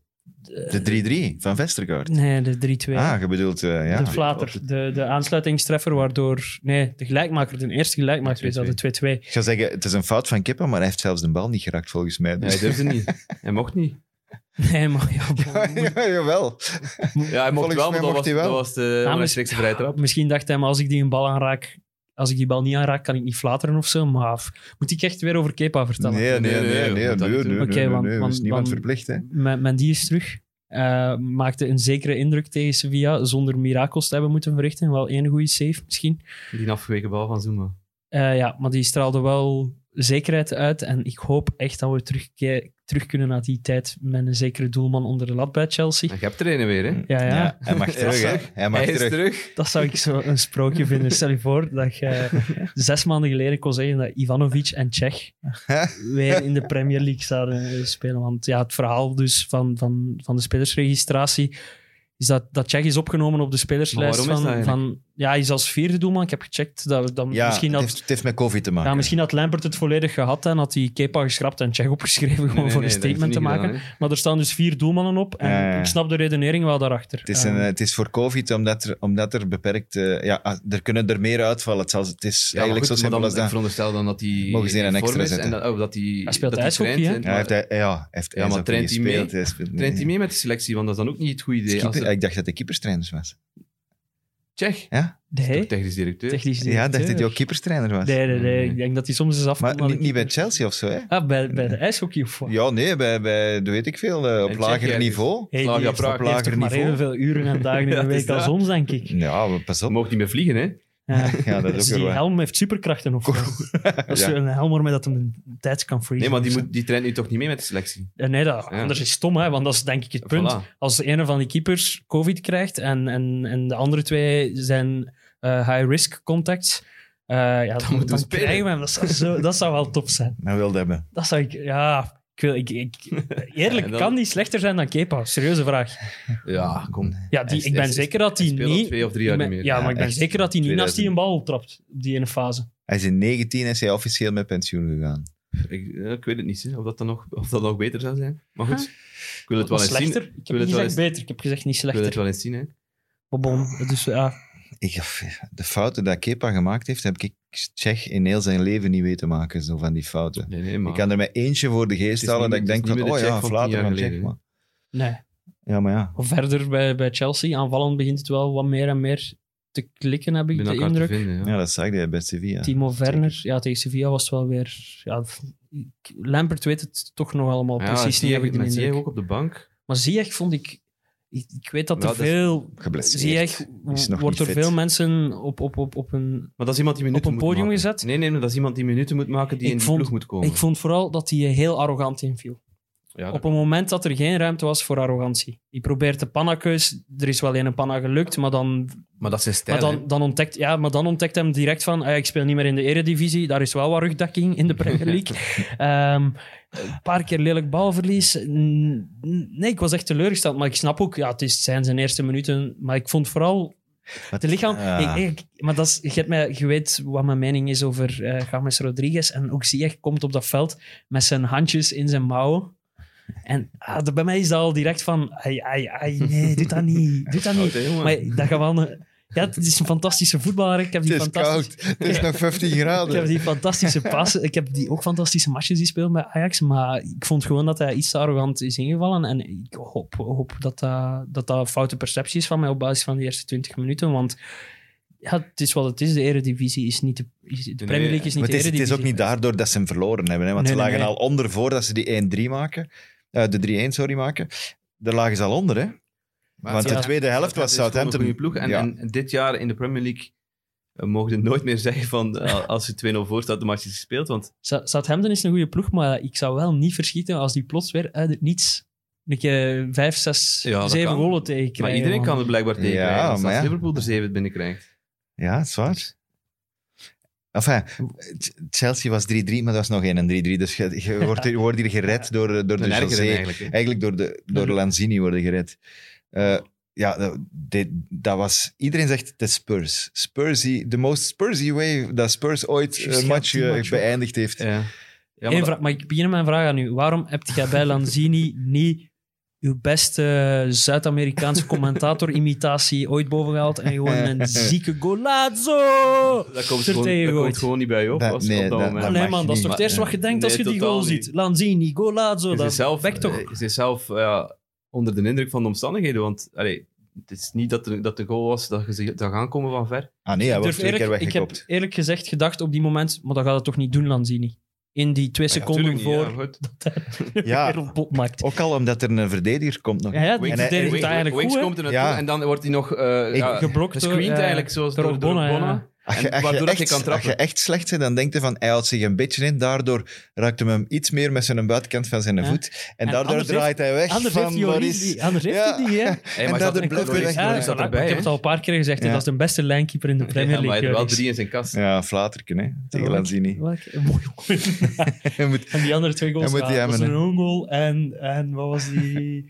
De 3-3 van Vestergaard.
Nee, de 3-2.
Ah, je bedoelt... eh, ja.
de flater, de, de aansluitingstreffer, waardoor... Nee, de gelijkmaker, de eerste gelijkmaker is dat, de 2-2.
Ik zou zeggen, het is een fout van Kippen, maar hij heeft zelfs de bal niet geraakt, volgens mij.
Ja,
Dus.
hij durfde niet. Hij mocht niet.
Nee, maar ja, bon, moet-
Ja, jawel.
Ja, hij mocht
Volgens
wel, maar dat
mij mocht
was,
hij wel.
dat was de
maar-
onrechtstreekse vrije trap.
Misschien dacht hij, maar als ik die een bal aanraak, als ik die bal niet aanraak, kan ik niet flateren of zo. Maar f- moet ik echt weer over Kepa
Nee,
vertellen?
nee, nee. nee,
Nee, nee,
nee,
je moet dat
nee,
niet doen.
nee,
Oké,
nee,
want-
nee, er is
want-
niemand
want-
verplicht, hè.
Mijn, mijn die is terug. Eh, maakte een zekere indruk tegen Sevilla, zonder mirakels te hebben moeten verrichten. Wel één goede save misschien.
Die afgeweken bal van Zuma.
Eh, ja, maar die straalde wel zekerheid uit. En ik hoop echt dat we terug, terug kunnen naar die tijd met een zekere doelman onder de lat bij Chelsea.
En je hebt er een weer, hè?
Ja, ja,
Ja, Mm. hij mag terug, hè. Hij mag
Hij is
terug.
terug.
dat zou ik zo een sprookje vinden. Stel je voor dat je zes maanden geleden kon zeggen dat Ivanovic en Tsjech weer in de Premier League zouden eh, spelen. Want ja, het verhaal dus van, van, van de spelersregistratie is dat, dat Tsjech is opgenomen op de spelerslijst.
Maar waarom is
van,
dat
van, ja, hij is als vierde doelman. Ik heb gecheckt dat, dat
Ja,
misschien
het,
had...
heeft, het heeft met COVID te maken.
Ja, misschien had Lampert het volledig gehad en had hij Kepa geschrapt en Tsjech opgeschreven gewoon voor een statement te maken. maar er staan dus vier doelmannen op en
Ja, ja, ja.
ik snap de redenering wel daarachter.
Het is,
Eh,
een, het is voor COVID, omdat er, omdat er beperkt... eh, ja, ah, er kunnen er meer uitvallen. Het, zal, het is eigenlijk zo simpel als
Ik
dat.
veronderstel dan dat hij
Mogen ze hier
in
een
vorm
extra
is en
zetten.
dat, oh, dat hij,
Hij speelt
dat
ijshockey, hè?
traint, en-
Ja, hij heeft, hij- ja, hij heeft, hij
Ja,
is
maar
ook
traint
niet
hij mee?
gespeeld, hij speelt-
Traint hij
nee.
mee met de selectie? Want dat is dan ook niet het goede idee. Als
Keeper-
eh,
er-
Ik dacht dat hij keeperstrainer was.
Tsjech,
nee,
toch technisch directeur.
eh, technisch
Ja, dacht dat hij
directeur.
ook keeperstrainer was.
Nee, nee, nee.
Nee.
Ik denk dat hij soms eens afkomt.
Mm. Maar
aan de
niet, niet bij
keeper.
Chelsea of zo, hè?
Ah, bij, bij de ijshockey of wat?
Ja, nee, bij, bij de weet ik veel, eh, op
En
lager
Tsjechië
niveau.
Hey, die
Slavia
heeft-
Praag
die heeft
lager
toch maar
niveau.
heel veel uren en dagen in
Ja,
de
het
week
is
als
dat.
ons, denk ik.
Ja, maar pas
Hij
op.
mocht niet meer vliegen, hè?
Ja.
Ja, dat
Dus
is ook
die
weer waar.
helm heeft superkrachten of zo. Dat is
Ja.
een helm waarmee dat hem een tijd kan freezen.
Nee, maar die,
of zo.
moet, die traint nu toch niet mee met de selectie?
Eh, Nee, dat,
Ja.
anders is het stom, hè, want dat is denk ik het punt.
Voilà.
Als een van die keepers COVID krijgt en, en, en de andere twee zijn eh, high-risk contacts, eh, ja, dan,
moeten we
dan
spelen.
krijgen we hem. Dat zou, zo, dat zou wel top zijn.
Maar wilde hebben.
Dat zou ik... Ja, ik, wil, ik, ik- eerlijk,
En dan-
kan die slechter zijn dan Kepa? Serieuze vraag.
Ja, kom.
Ja, die,
Hij-
ik ben
hij-
zeker dat
hij
hij
speelt al
niet...
twee of drie jaar
ik ben-
niet meer.
Ja,
Ja,
maar ik ben
echt.
zeker dat hij niet naast die een
2000.
bal trapt op die ene fase.
Hij is in 19 is hij officieel met pensioen gegaan.
Ik, eh, ik weet het niet, hè, of, dat dan nog, of dat nog beter zou zijn. Maar goed, ik wil het wel
Maar
eens zien.
Slechter?
Ik
Ik
wil
heb niet
het
gezegd
wel eens-
beter, ik heb gezegd niet
wil het
slechter.
wel eens zien, hè.
Maar bon, dus ja,
Ik, de fouten dat Kepa gemaakt heeft, heb ik Tsjech in heel zijn leven niet weet te maken, zo van die fouten.
Nee, nee,
Ik
maar...
kan er mij eentje voor de geest
Het is
halen dat
niet-
ik
het
denk
is
van,
niet meer
oh
de
ja,
Tsjech van
Vlater
tien jaar
van Tsjech.
geleden,
Maar.
Nee.
Ja, maar ja.
Verder bij, bij Chelsea, aanvallend begint het wel wat meer en meer te klikken, heb ik
ben
de
elkaar te
indruk.
vinden, ja.
Ja, dat zag je bij Sevilla.
Timo Werner, ja, tegen Sevilla was het wel weer... Ja, ik- Lampert weet het toch nog allemaal
Ja,
precies niet,
Ziyech-
heb ik de
met Ziyech
indruk.
ook op de bank.
Maar Ziyech vond ik... Ik, ik weet dat
Ja,
er
dat is
veel...
Geblesseerd.
Ziyech
Is nog
wordt
niet
door
fit.
veel mensen op, op, op, op een...
Maar dat is iemand die minuten
Op een
moet
podium
maken.
gezet?
Nee, nee, maar dat is iemand die minuten moet maken die
Ik
in de
vond-
ploeg moet komen.
Ik vond vooral dat hij heel arrogant inviel.
Oh. ja,
Op een moment dat er geen ruimte was voor arrogantie. Die probeert de pannakeus. Er is wel één panna gelukt, maar dan
maar dat is zijn
Maar
stijl. hè.
dan, dan, ontdekt, ja, maar dan ontdekt hem direct van, ah ja, ik speel niet meer in de eredivisie, daar is wel wat rugdekking in de Premier League. Ehm, een paar keer lelijk balverlies. N- Nee, ik was echt teleurgesteld, maar ik snap ook, ja, het is, het zijn zijn eerste minuten, maar ik vond vooral
Wat-
de lichaam...
Ja.
Ik, ik- maar dat is, je, hebt mij, je weet wat mijn mening is over eh James Rodriguez en ook Ziyech komt op dat veld met zijn handjes in zijn mouwen. En ah, dat- bij mij is dat al direct van, ai, ai, ai, nee, doe dat niet, doe dat niet.
Oud, hè, jongen.
Maar dat gaat wel een- Ja, het is een fantastische voetballer. Ik heb die
Het is
fantastische...
koud. Het is nog 15 graden.
Ik heb die fantastische passen. Ik heb die ook fantastische matches die speelt bij Ajax. Maar ik vond gewoon dat hij iets te arrogant is ingevallen. En ik hoop, hoop dat, dat, dat dat een foute perceptie is van mij op basis van de eerste 20 minuten. Want ja, het is wat het is. De Eredivisie is niet de, is- de Premier League. Is niet
Maar
de
het, is, het is ook
Eredivisie.
niet daardoor dat ze hem verloren hebben. Hè? Want
Nee,
ze
nee,
lagen
nee.
al onder voordat ze die 1-3 maken. Eh, de 3-1, sorry, maken. Daar lagen ze al onder, hè? Want
ja,
de tweede helft was
Southampton.
Southampton...
Een goede ploeg. En,
ja.
en dit jaar in de Premier League eh, mogen we nooit meer zeggen van eh, als je 2-0 voor staat, de match is gespeeld. Want
Sa- Southampton is een goede ploeg. Maar ik zou wel niet verschieten als die plots weer uit het niets... Een keer vijf, zes,
Ja, dat
zeven
kan.
golen tegenkrijgen.
maar iedereen
man.
kan het blijkbaar tegen.
Ja,
als
maar ja.
Liverpool er 7 binnenkrijgt.
Ja, het is waar. Enfin, Ch- Chelsea was 3-3, maar dat was nog geen een 3-3. Dus je, je wordt, hier, je wordt hier gered door, eh, door de
Een ergeren
José.
eigenlijk. hè.
Eigenlijk door, de, door Lanzini worden gered. Eh, ja, dat- dit- dat was... Iedereen zegt, de Spurs. Spursy, the most Spursy way dat Spurs ooit
Juist,
een
ja,
match
die
eh,
match ook.
beëindigd heeft.
Ja. Ja,
Eén
maar
vraag, maar ik begin met mijn vraag aan u. Waarom hebt jij bij Lanzini niet uw beste Zuid-Amerikaanse commentator-imitatie ooit bovengehaald en gewoon een zieke golazo?
dat, dat komt
er
gewoon,
tegen
dat komt
gooit.
gewoon niet bij je op.
Dat-
als-
nee,
op dat
dat-
moment.
dat
nee
mag
man, dat is
niet.
toch het
Maar-
eerste wat je denkt als
nee,
je die
totaal
goal
niet.
ziet. Lanzini, golazo,
Ze
dat
is zelf,
weg toch.
eh, ze is zelf ja, onder de indruk van de omstandigheden. Want allee, het is niet dat er, dat de goal was dat je ze- zag aankomen van ver.
Ah nee, hij
Ik
wordt
durf
twee keer
eerlijk- ik
weggekopt.
heb eerlijk gezegd gedacht op die moment, maar dat gaat het toch niet doen, Lanzini? In die twee seconden
Ja, tuurlijk
voor
niet, ja, goed.
de
Ja.
wereld bot maakt.
Ook al omdat er een verdediger komt nog.
Ja, ja,
Wings-
die
en hij-
verdedigt het
Wings-
eigenlijk
Wings
goed, hè.
komt er naartoe
Ja.
en dan wordt hij nog eh
Ik-
ja,
geblokt door,
gescreend
eh,
eigenlijk, zoals
door
door, door
Ogbonna,
Ogbonna.
ja.
Als je,
En
als, je
waardoor dat je
echt,
kan trappen.
als je echt slecht bent, dan denkt hij van hij houdt zich een beetje in. Daardoor raakt hem hem iets meer met zijn buitenkant van zijn
Ja.
voet. En,
En
daardoor
anders
draait hij weg
Anders
van
heeft Joris
Loris.
die, anders heeft
Ja.
hij die, hè?
Hey,
En
maar
dat
dat
de blok weer weg-
Ja,
is dat
voilà.
erbij.
Ik heb het al een paar keer gezegd, hè,
Ja.
dat is de beste lijnkeeper in de Premier
maar hij
League.
had er wel
Joris.
drie in zijn kast.
Ja, flaterken, hè. Tegen
Welk-
Lanzini.
welk- een mooi goal.
Hij moet-
en die andere twee goals
Hij moet die
ja, dat was
hebben,
een own goal en, en wat was die...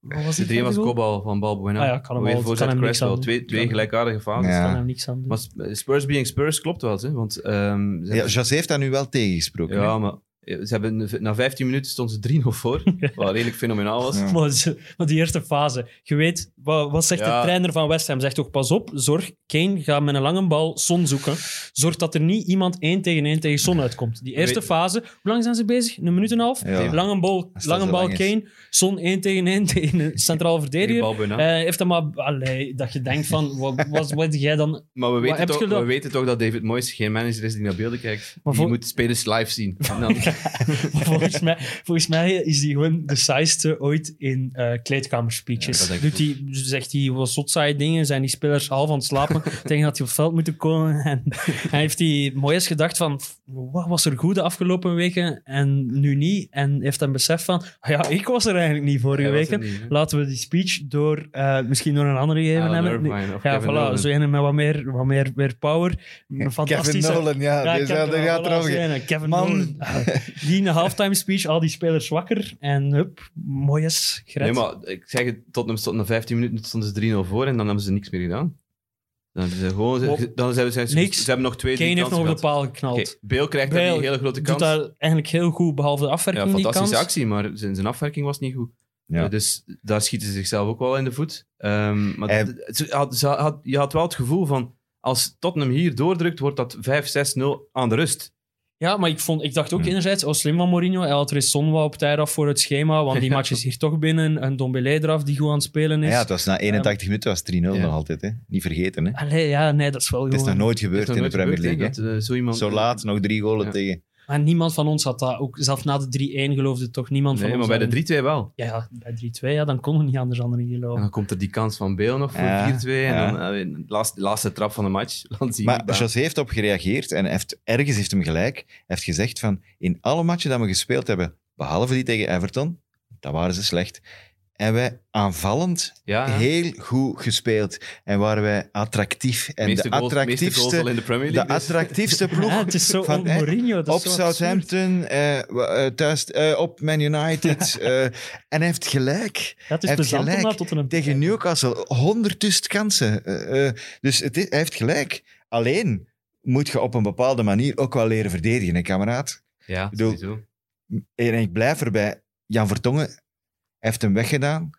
Wat was
De
die
drie was
tweede goal?
kopbal van Balbuena.
Ah ja, kan hem
Weer
al-
voorzet
kan hem niks
Creswell.
aan doen.
Twee, twee
Ja.
gelijkaardige fases.
Ik
Ja.
kan hem niks aan doen.
Maar Spurs being Spurs klopt wel, hè? Want ehm, ze
Ja, José heeft daar nu wel tegengesproken.
Ja, maar ze hebben, na 15 minuten stonden ze 3-0 voor. Wat redelijk fenomenaal was.
Ja.
Maar ze- maar die eerste fase, je weet, wat, wat zegt
Ja.
de trainer van West Ham? Zegt toch, pas op, zorg, Kane gaat met een lange bal Son zoeken. Zorg dat er niet iemand één tegen één tegen Son uitkomt. Die eerste
Weet-
fase, hoe lang zijn ze bezig? Een minuut en een half?
Ja.
Lange bal,
dat
lange
zo
bal
lang is.
Kane, Son één tegen één tegen een centraal
Tegen
verdediger.
Balbuena.
Eh heeft dat maar... Allee, dat je denkt van, wat, wat, wat jij dan
Maar we weten,
heb
toch,
je
we
dat-
weten toch dat David Moyes geen manager is die naar beelden kijkt.
Maar
Die
voor-
moet spelers live zien. En dan-
Maar volgens, mij, volgens mij is die gewoon de saaiste ooit in eh kleedkamerspeeches.
Ja, dat denk ik
Doet die, zegt hij wat zotzaaie dingen, zijn die spelers half aan het slapen, tegen dat hij op het veld moeten komen. En, en heeft hij mooi eens gedacht van, wat was er goed de afgelopen weken en nu niet? En heeft dan besef van, ah ja, ik was er eigenlijk niet vorige
Hij was er
weken.
niet, Ah, hè.
Laten we die speech door, eh, misschien door een andere gegeven
Ah,
Alan
hebben.
Irvine of
ja,
Kevin Nolan.
voilà, zo een met wat meer, wat meer, meer power. Een
Kevin
Fantastische
Nolan, ja. die
Kevin
gaat- die gaat
Nolan,
eraf.
voilà, zijn, Kevin
Man.
Nolan. Ah, Die in de halftime speech, al die spelers wakker. En hup, mooi is gered.
Nee, maar ik zeg het, Tottenham stond na 15 minuten stonden ze 3-0 voor en dan hebben ze niks meer gedaan. Dan hebben ze gewoon... Ze,
Op-
dan zijn ze, ze,
Niks.
ze hebben nog twee, drie
Kane heeft nog
kansen
op de
gehad.
paal geknald.
Oké, Bale krijgt daar
Bale
die hele grote
Doet
kans.
daar eigenlijk heel goed, behalve de
Ja,
afwerking die
fantastische
kans.
actie, maar zijn, zijn afwerking was niet goed.
Ja.
Eh, Dus daar schieten ze zichzelf ook wel in de voet. Ehm, maar
Hij-
d- ze had, ze had- je had wel het gevoel van... Als Tottenham hier doordrukt, wordt dat 5-6-0 aan de rust.
Ja, maar ik, vond, ik dacht ook
Hmm.
Hm.
enerzijds, oh slim van Mourinho, hij haalt Resson wel op tijd af voor het schema, want die match is hier toch binnen. En Dombele eraf, die goed aan het spelen is.
Ja, het was na 81 minuten was 3-0
Ja.
nog altijd. Hè. Niet vergeten. Hè.
Allee, ja, nee, dat is wel
Het is
gewoon...
nog nooit
Dat is
gebeurd
nog
in de
nooit
Premier
gebeurd,
League.
hè, dat, eh, zo,
hè.
iemand,
Zo laat, nog drie golen
Ja.
tegen.
Maar niemand van ons had dat. Ook zelfs na de 3-1 geloofde toch niemand
Nee,
van
maar
ons.
bij
dat-
de 3-2 wel.
Ja, ja, bij 3-2, ja, dan kon het niet anders dan erin
En
geloven.
dan komt er die kans van Bale nog voor
Ja,
4-2.
ja.
En dan eh, de laatste, laatste trap van de match. Laat zien
Maar
daar.
José heeft op gereageerd en heeft, ergens heeft hem gelijk. Hij heeft gezegd van, in alle matchen dat we gespeeld hebben, behalve die tegen Everton, dat waren ze slecht, en wij aanvallend
ja, ja.
heel goed gespeeld. En waren wij attractief. En
Meeste
de
goals- meeste goals al
attractiefste,
in de Premier
de
League. dus.
attractiefste ploeg
Ja, het is zo
van,
on
hè,
Mourinho. Dat
op
is zo absurd.
Southampton, eh, w- eh, thuis, eh, op Man United. eh, en hij heeft gelijk.
Ja, het is
Hij heeft
plezant om
gelijk
naar Tottenham te
Tegen
kijken.
Newcastle, honderdduizend kansen. Eh, eh, dus het is- hij heeft gelijk. Alleen moet je op een bepaalde manier ook wel leren verdedigen, hè, kameraad.
Ja,
bedoel,
sowieso.
En ik blijf erbij. Jan Vertongen heeft hem weggedaan.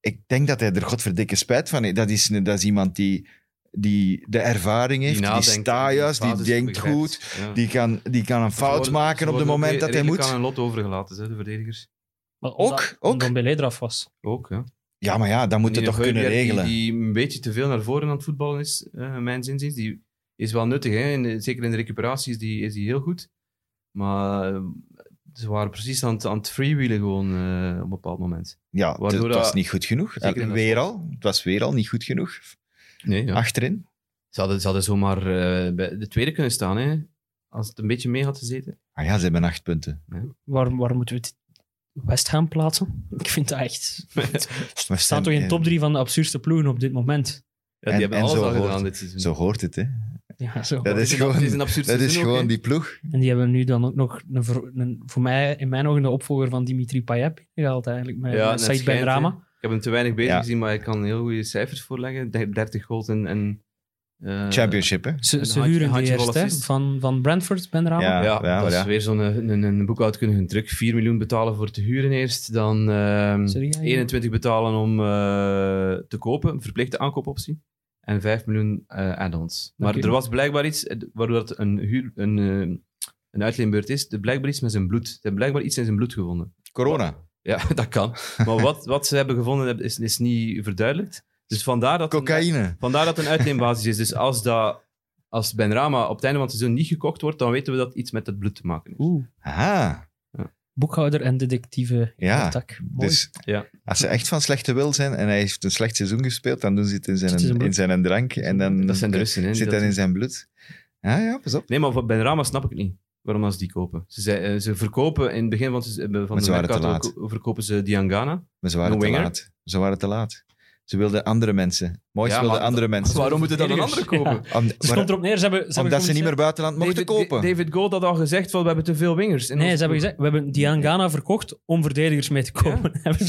Ik denk dat hij er godverdikke spijt van heeft. Dat is, dat is iemand die, die de ervaring heeft, die,
nadenkt,
staat juist, die
fases
denkt
begrijpt.
goed,
Ja.
die kan, die kan een
Ze
fout
worden- ze
maken op het
worden ook
moment dat hij
redelijk aan
moet.
een lot overgelaten, hè, de verdedigers.
Maar omdat-
Ook, ook.
omdat Dombele eraf was.
Ook, ja.
Ja, maar ja, dan moet je
Die
toch kunnen
Heubier, die-
regelen.
Die, een beetje te veel naar voren aan het voetballen is, eh mijn zinziens. Die is wel nuttig, hè. In de- zeker in de recuperatie is die, is die heel goed. Maar eh, ze waren precies aan het, aan het freewheelen gewoon eh, op een bepaald moment.
Ja, het-
waardoor
het was
dat-
niet goed genoeg. Eh,
Zeker in dat
Weer al. Het was weer al niet goed genoeg.
Nee, ja.
Achterin.
Ze hadden, ze hadden zomaar eh, bij de tweede kunnen staan, hè. Als het een beetje mee had gezeten.
Ah ja, ze hebben acht punten.
Waar, waar moeten we het West Ham plaatsen? Ik vind dat echt...
We
staan toch in top 3 van de absurdste ploegen op dit moment.
Ja, die
En-
hebben
en
alles
zo
al
hoort-
gedaan dit seizoen.
Zo hoort het, hè.
Ja, zo.
Dat is
Het een- het
gewoon,
een absurd
dat is
seizoen ook,
gewoon
hè.
die ploeg.
En die hebben nu dan ook nog een, ver- een- voor mij, in mijn ogen, de opvolger van Dimitri Payet gehaald eigenlijk. Met,
Ja,
ja,
en
met
het
Saïd Ben
schijnt,
Rama.
hè. Ik heb hem te weinig bezig
Ja.
gezien, maar ik kan heel goede cijfers voorleggen. Der- 30 goals en... en eh,
Championship, hè.
Ze,
Een
ze
handje-
huren die
handjevol
eerst hè,
assist.
van, van Brentford, Ben Rama.
Ja,
Ja,
ja,
dat
ja.
is weer zo'n eh, een, een, een boekhoudkundige truc. 4 miljoen betalen voor te huren eerst, dan ehm,
Sorry, ja, ja.
21 betalen om eh, te kopen, een verplichte aankoopoptie. En 5 miljoen eh, add-ons. Maar
Oké.
er was blijkbaar iets, eh, waardoor dat een, huur, een, eh, een uitleenbeurt is, er blijkbaar iets met zijn bloed. Ze hebben blijkbaar iets in zijn bloed gevonden.
Corona.
Ja, dat kan. Maar wat, wat ze hebben gevonden is, is niet verduidelijkt. Dus vandaar dat...
Cocaïne.
Vandaar dat het een uitleenbasis is. Dus als, dat, als Benrama op het einde van het seizoen niet gekocht wordt, dan weten we dat iets met het bloed te maken heeft.
Oeh,
Aha.
boekhouder en detectieve in
Ja,
het dak. Mooi.
Dus
Ja.
als ze echt van slechte wil zijn en hij heeft een slecht seizoen gespeeld, dan doen ze het in zijn,
Zit in zijn bloed.
in zijn drank en dan
Dat zijn de Russen, hè. die
zit
dat
dat in zijn bloed. Ja, ja, pas op.
doen. Nee, maar van Benrama snap ik het niet. Waarom dat ze die kopen? Ze, zei- eh, ze verkopen in het begin van, het seizoen- eh, van
Maar
de
ze waren te
mercato ko- verkopen ze Diangana.
Maar ze waren
No
te
winger.
laat. Ze waren te laat. Ze wilden andere mensen. Mooi, ze
Ja,
wilden
maar-
andere mensen.
Waarom moeten dan een andere
verdedigers.
kopen?
Om-
Dus
waar-
het komt erop neer, ze hebben... Ze
omdat
hebben
ze niet meer buitenland mochten
David,
kopen.
David Gold had al gezegd, van, we hebben te veel wingers. in
Nee,
onze
ze hebben
ploeg.
gezegd, we hebben Diangana verkocht om verdedigers mee te kopen. en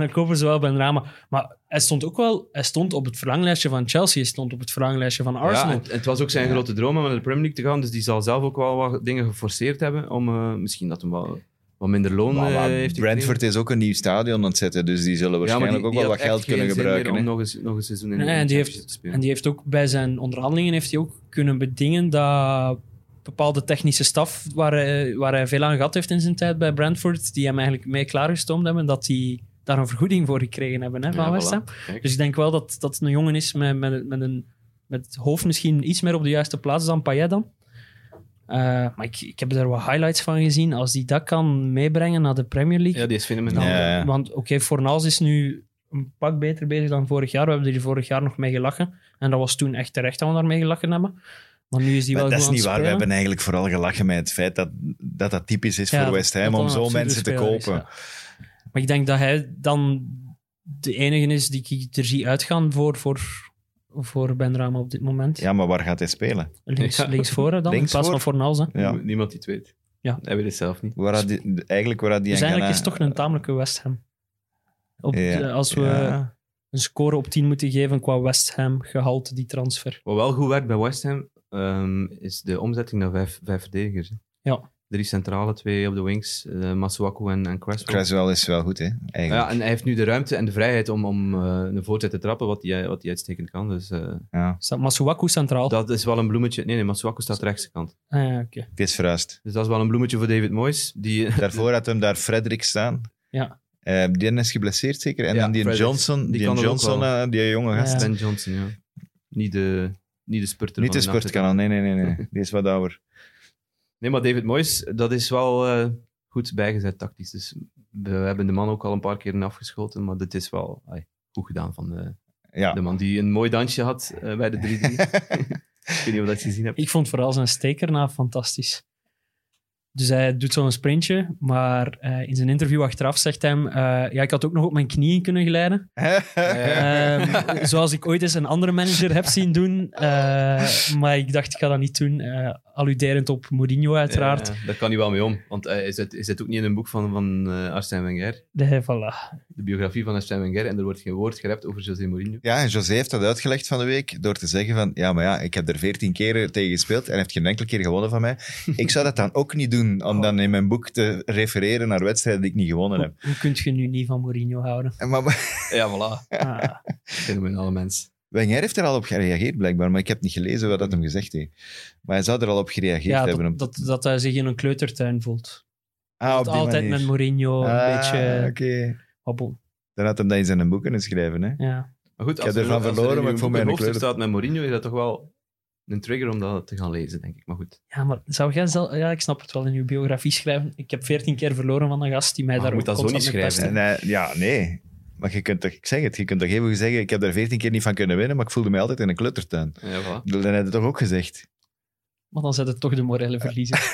dan kopen ze wel Ben Rama. Maar hij stond ook wel... Hij stond op het verlanglijstje van Chelsea, hij stond op het verlanglijstje van Arsenal.
Ja, en- en het was ook zijn grote droom om naar de Premier League te gaan, dus die zal zelf ook wel wat dingen geforceerd hebben om eh, misschien dat hem wel wat minder loon
Maar-
eh,
maar
heeft gekregen.
Brentford is ook een nieuw stadion aan het zetten, dus die zullen
Ja, maar
waarschijnlijk
die-
ook
die
wel
had
wat
echt
geld
geen
kunnen
zin meer
gebruiken.
Om
hè.
nog, eens, nog een seizoen in
Nee,
de
en die
Championship
heeft-
te
En
spelen.
die heeft ook bij zijn onderhandelingen heeft hij ook kunnen bedingen dat bepaalde technische staf, waar hij, waar hij veel aan gehad heeft in zijn tijd bij Brentford, die hem eigenlijk mee klaargestoomd hebben, dat die daar een vergoeding voor gekregen hebben hè, van
Ja,
West Ham.
voilà. Kijk.
Dus ik denk wel dat dat het een jongen is met, met, met, een, met het hoofd misschien iets meer op de juiste plaats dan Payet dan. Eh, maar ik, ik heb er wat highlights van gezien. Als die dat kan meebrengen naar de Premier League,
Ja, die is fenomenaal.
dan-
Ja, ja.
Want oké, Fornals is nu een pak beter bezig dan vorig jaar. We hebben er vorig jaar nog mee gelachen. En dat was toen echt terecht dat we daarmee gelachen hebben. Maar nu is die
Maar
wel
dat
goed
is
aan
niet
het
waar. We
spelen.
hebben eigenlijk vooral gelachen met het feit dat dat, dat typisch is
Ja,
voor West
dat
Ham
dat
om
een
zo
absurde
mensen te
speler
kopen.
is, ja. Maar ik denk dat hij dan de enige is die ik er zie uitgaan voor, voor, voor Ben Rama op dit moment.
Ja, maar waar gaat hij spelen?
Links,
Ja.
links voren dan,
Links
in plaats
voor.
van Fornals. Hè.
Ja.
Niemand die het weet.
Ja.
Hij weet het zelf niet.
Waar had die, eigenlijk waar had die
Dus eigenlijk
Angana-
is het toch een tamelijke West Ham. Op,
eh, Ja,
eh, als we
ja.
een score op 10 moeten geven qua West Ham gehalte, die transfer.
Wat wel goed werkt bij West Ham, ehm, is de omzetting naar vijf, vijf verdedigers. hè.
Ja.
Drie centrale, twee op de wings. eh, Masuaku en, en Creswell.
Creswell is wel goed, hè?
Ja,
Eigenlijk.
en hij heeft nu de ruimte en de vrijheid om, om eh, een voorzet te trappen, wat hij, wat hij uitstekend kan. Dus eh,
Ja,
Staat Masuaku centraal?
dat is wel een bloemetje. Nee, nee, Masuaku staat rechtskant.
Ah, ja, oké.
het is verrast.
Dus dat is wel een bloemetje voor David Moyes. Die,
Daarvoor had hem daar Frederik staan.
Ja.
Eh, die is geblesseerd zeker. En
Ja,
dan die
Frederik.
Johnson, die,
Die kan er ook
Johnson,
wel.
eh, die jonge gast.
Ja.
Ben Johnson, ja. Niet de, niet de spurter.
Niet de
van nacht.
spurtkanon, nee, nee, nee, nee. Die is wat ouder.
Nee, maar David Moyes, dat is wel eh, goed bijgezet tactisch. Dus we hebben de man ook al een paar keer afgeschoten, maar dit is wel ai, goed gedaan van de,
Ja.
de man die een mooi dansje had eh, bij de 3-3. Ik weet niet of dat je gezien hebt.
Ik vond vooral zijn stekernaaf fantastisch. Dus hij doet zo'n sprintje, maar eh, in zijn interview achteraf zegt hij... eh, ja, ik had ook nog op mijn knieën kunnen glijden.
Eh,
Ehm, zoals ik ooit eens een andere manager heb zien doen. eh, maar ik dacht, ik ga dat niet doen. eh, alluderend op Mourinho, uiteraard.
Ja, Eh, daar kan hij wel mee om. Want eh, hij is het, is het ook niet in een boek van, van eh, Arsène Wenger,
Nee, voilà.
de biografie van Arsène Wenger, en er wordt geen woord gerept over José Mourinho.
Ja, en José heeft dat uitgelegd van de week door te zeggen van, ja, maar ja, ik heb er veertien keren tegen gespeeld en hij heeft geen enkele keer gewonnen van mij. Ik zou dat dan ook niet doen, om dan in mijn boek te refereren naar wedstrijden die ik niet gewonnen heb.
Hoe kun je nu niet van Mourinho houden?
En Maar
Ja, voilà.
Ah,
Fenomenale mens.
Wenger heeft er al op gereageerd, blijkbaar, maar ik heb niet gelezen wat dat hem gezegd heeft. Maar hij zou er al op gereageerd
ja,
hebben.
dat,
op-
dat, dat hij zich in een kleutertuin voelt.
ah, op die
Altijd
manier.
met Mourinho, een
Ah,
beetje eh,
oké.
wabbel.
Dan had hem dat in zijn boeken kunnen schrijven, hè.
Ja.
Maar goed,
Ik
als
heb ervan
als
verloren,
in
maar
uw
ik vond mij een
hoofdstuk
kleur-
staat met Mourinho, is dat toch wel een trigger om dat te gaan lezen, denk ik. Maar goed.
ja, maar zou jij zelf... Ja, ik snap het wel, in uw biografie schrijven. Ik heb veertien keer verloren van een gast die mij
Maar
daar
je moet
ook
dat zo
constant
niet
mee
schrijven,
pestte.
En hij- ja, nee. Maar je kunt toch, ik zeg het, je kunt toch even zeggen, ik heb daar veertien keer niet van kunnen winnen, maar ik voelde mij altijd in een kluttertuin.
Ja, voilà.
Dan heb je het toch ook gezegd?
Maar dan zet het toch de morele verliezer.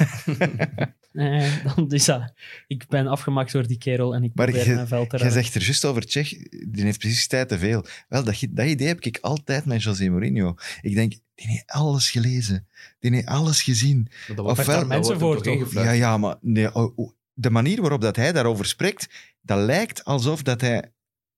Eh, dan is dat... Ik ben afgemaakt door die kerel en ik
Maar
probeer
je-
mijn veld te
Jij
redden.
zegt er juist over Tsjech, die heeft precies tijd te veel. Wel, dat, ge- dat idee heb ik altijd met José Mourinho. Ik denk, die heeft alles gelezen. Die heeft alles gezien.
Maar dat wordt-
Ofwel-
daar wordt
mensen
hem
voor,
toch
toch?
ingefluisterd?
Ja, ja, maar nee, o- o- de manier waarop dat hij daarover spreekt, dat lijkt alsof dat hij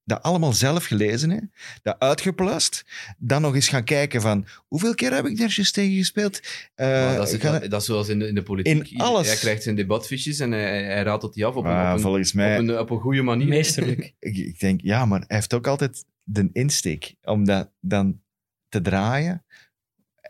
dat allemaal zelf gelezen heeft, dat uitgeplast, dan nog eens gaan kijken van, hoeveel keer heb ik daar juist tegen gespeeld? Eh,
Maar dat, is,
gaan-
dat, dat is zoals in de, in de politiek.
In
Ieder-
alles.
Hij krijgt zijn debatfiches en hij, hij raadt dat die af op een,
Ah,
op, een, op,
volgens mij...
een, op een goede manier.
Meesterlijk.
ik, ik denk, ja, maar hij heeft ook altijd de insteek om dat dan te draaien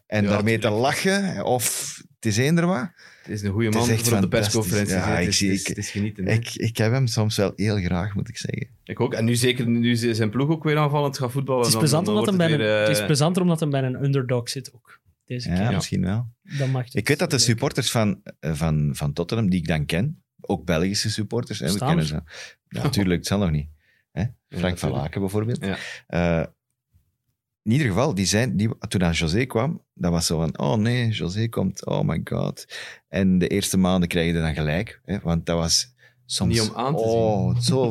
en
Ja,
daarmee te
tuurlijk.
lachen. Of het is eender wat.
Het is een goede
Het is
man
echt
voor op de
fantastisch.
persconferentie.
Ja,
het,
ik
is,
zie-
het is-
ik-
het is genieten. hè. Ik,
Ik, ik heb hem soms wel heel graag, moet ik zeggen.
ook. En nu zeker, nu ze- zijn ploeg ook weer aanvallend gaat voetballen.
Het is,
dan-
plezant
dan
omdat hem
wordt
bij een,
het weer,
het is
eh,
plezanter omdat hem bij een underdog zit ook. Deze
Ja,
keer.
misschien wel.
Dat maakt het
Ik weet dat de
leuk.
supporters van, eh, van, van Tottenham, die ik dan ken, ook Belgische supporters, hè, we
Staan
kennen
er?
ze. Ja, natuurlijk, het zal nog niet. Hè? Frank van
natuurlijk.
Laken bijvoorbeeld.
Ja.
Eh, in ieder geval, die zijn, die, toen aan José kwam, dat was zo van, oh nee, José komt, oh my god. En de eerste maanden krijg je dan gelijk, hè, want dat was soms...
Niet om aan te
oh, zo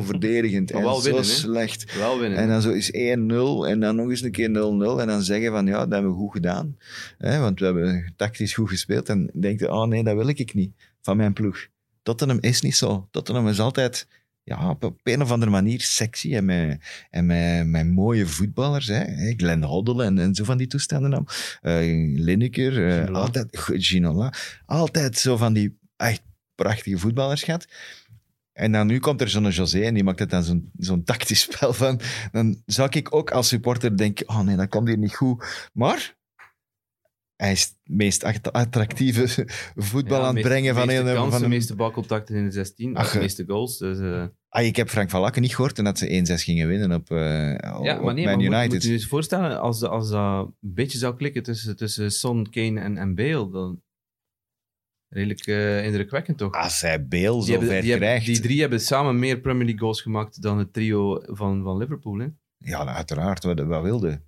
verdedigend
Maar
en
wel
zo
winnen, hè?
slecht.
Wel winnen.
En dan zo is 1-0 en dan nog eens een keer 0-0 en dan zeggen van ja, dat hebben we goed gedaan. Hè, want we hebben tactisch goed gespeeld. En denk je, oh nee, dat wil ik niet van mijn ploeg. Tottenham is niet zo. Tottenham is altijd ja, op, op een of andere manier sexy en met, en met, met mooie voetballers. Hè. Hè, Glenn Hoddle en, en zo van die toestanden. dan. Eh Lineker, eh,
Ginola.
altijd Ginola. Altijd zo van die echt prachtige voetballers gehad. En dan nu komt er zo'n José en die maakt het dan zo'n zo'n tactisch spel van. Dan zou ik ook als supporter denken, oh nee, dat komt hier niet goed. Maar hij is het meest act- attractieve voetbal
Ja,
aan het
meeste-
brengen van
meeste
heel
kansen,
van
de
een-
meeste balcontacten in de 16,
Ach,
de
eh.
meeste goals. Dus, eh,
Ah, ik heb Frank van Laken niet gehoord toen dat ze 1-6 gingen winnen op, eh
ja,
op
maar nee, maar
Man
moet,
United.
moet je je eens voorstellen, als, de- als dat een beetje zou klikken tussen, tussen Son, Kane en, en Bale, dan redelijk eh indrukwekkend toch?
Als hij Beel
die, hebben-
zover
die, hebben-
krijgt...
die drie hebben samen meer Premier League goals gemaakt dan het trio van, van Liverpool. Hè?
Ja, nou, uiteraard, wat, wat wilde.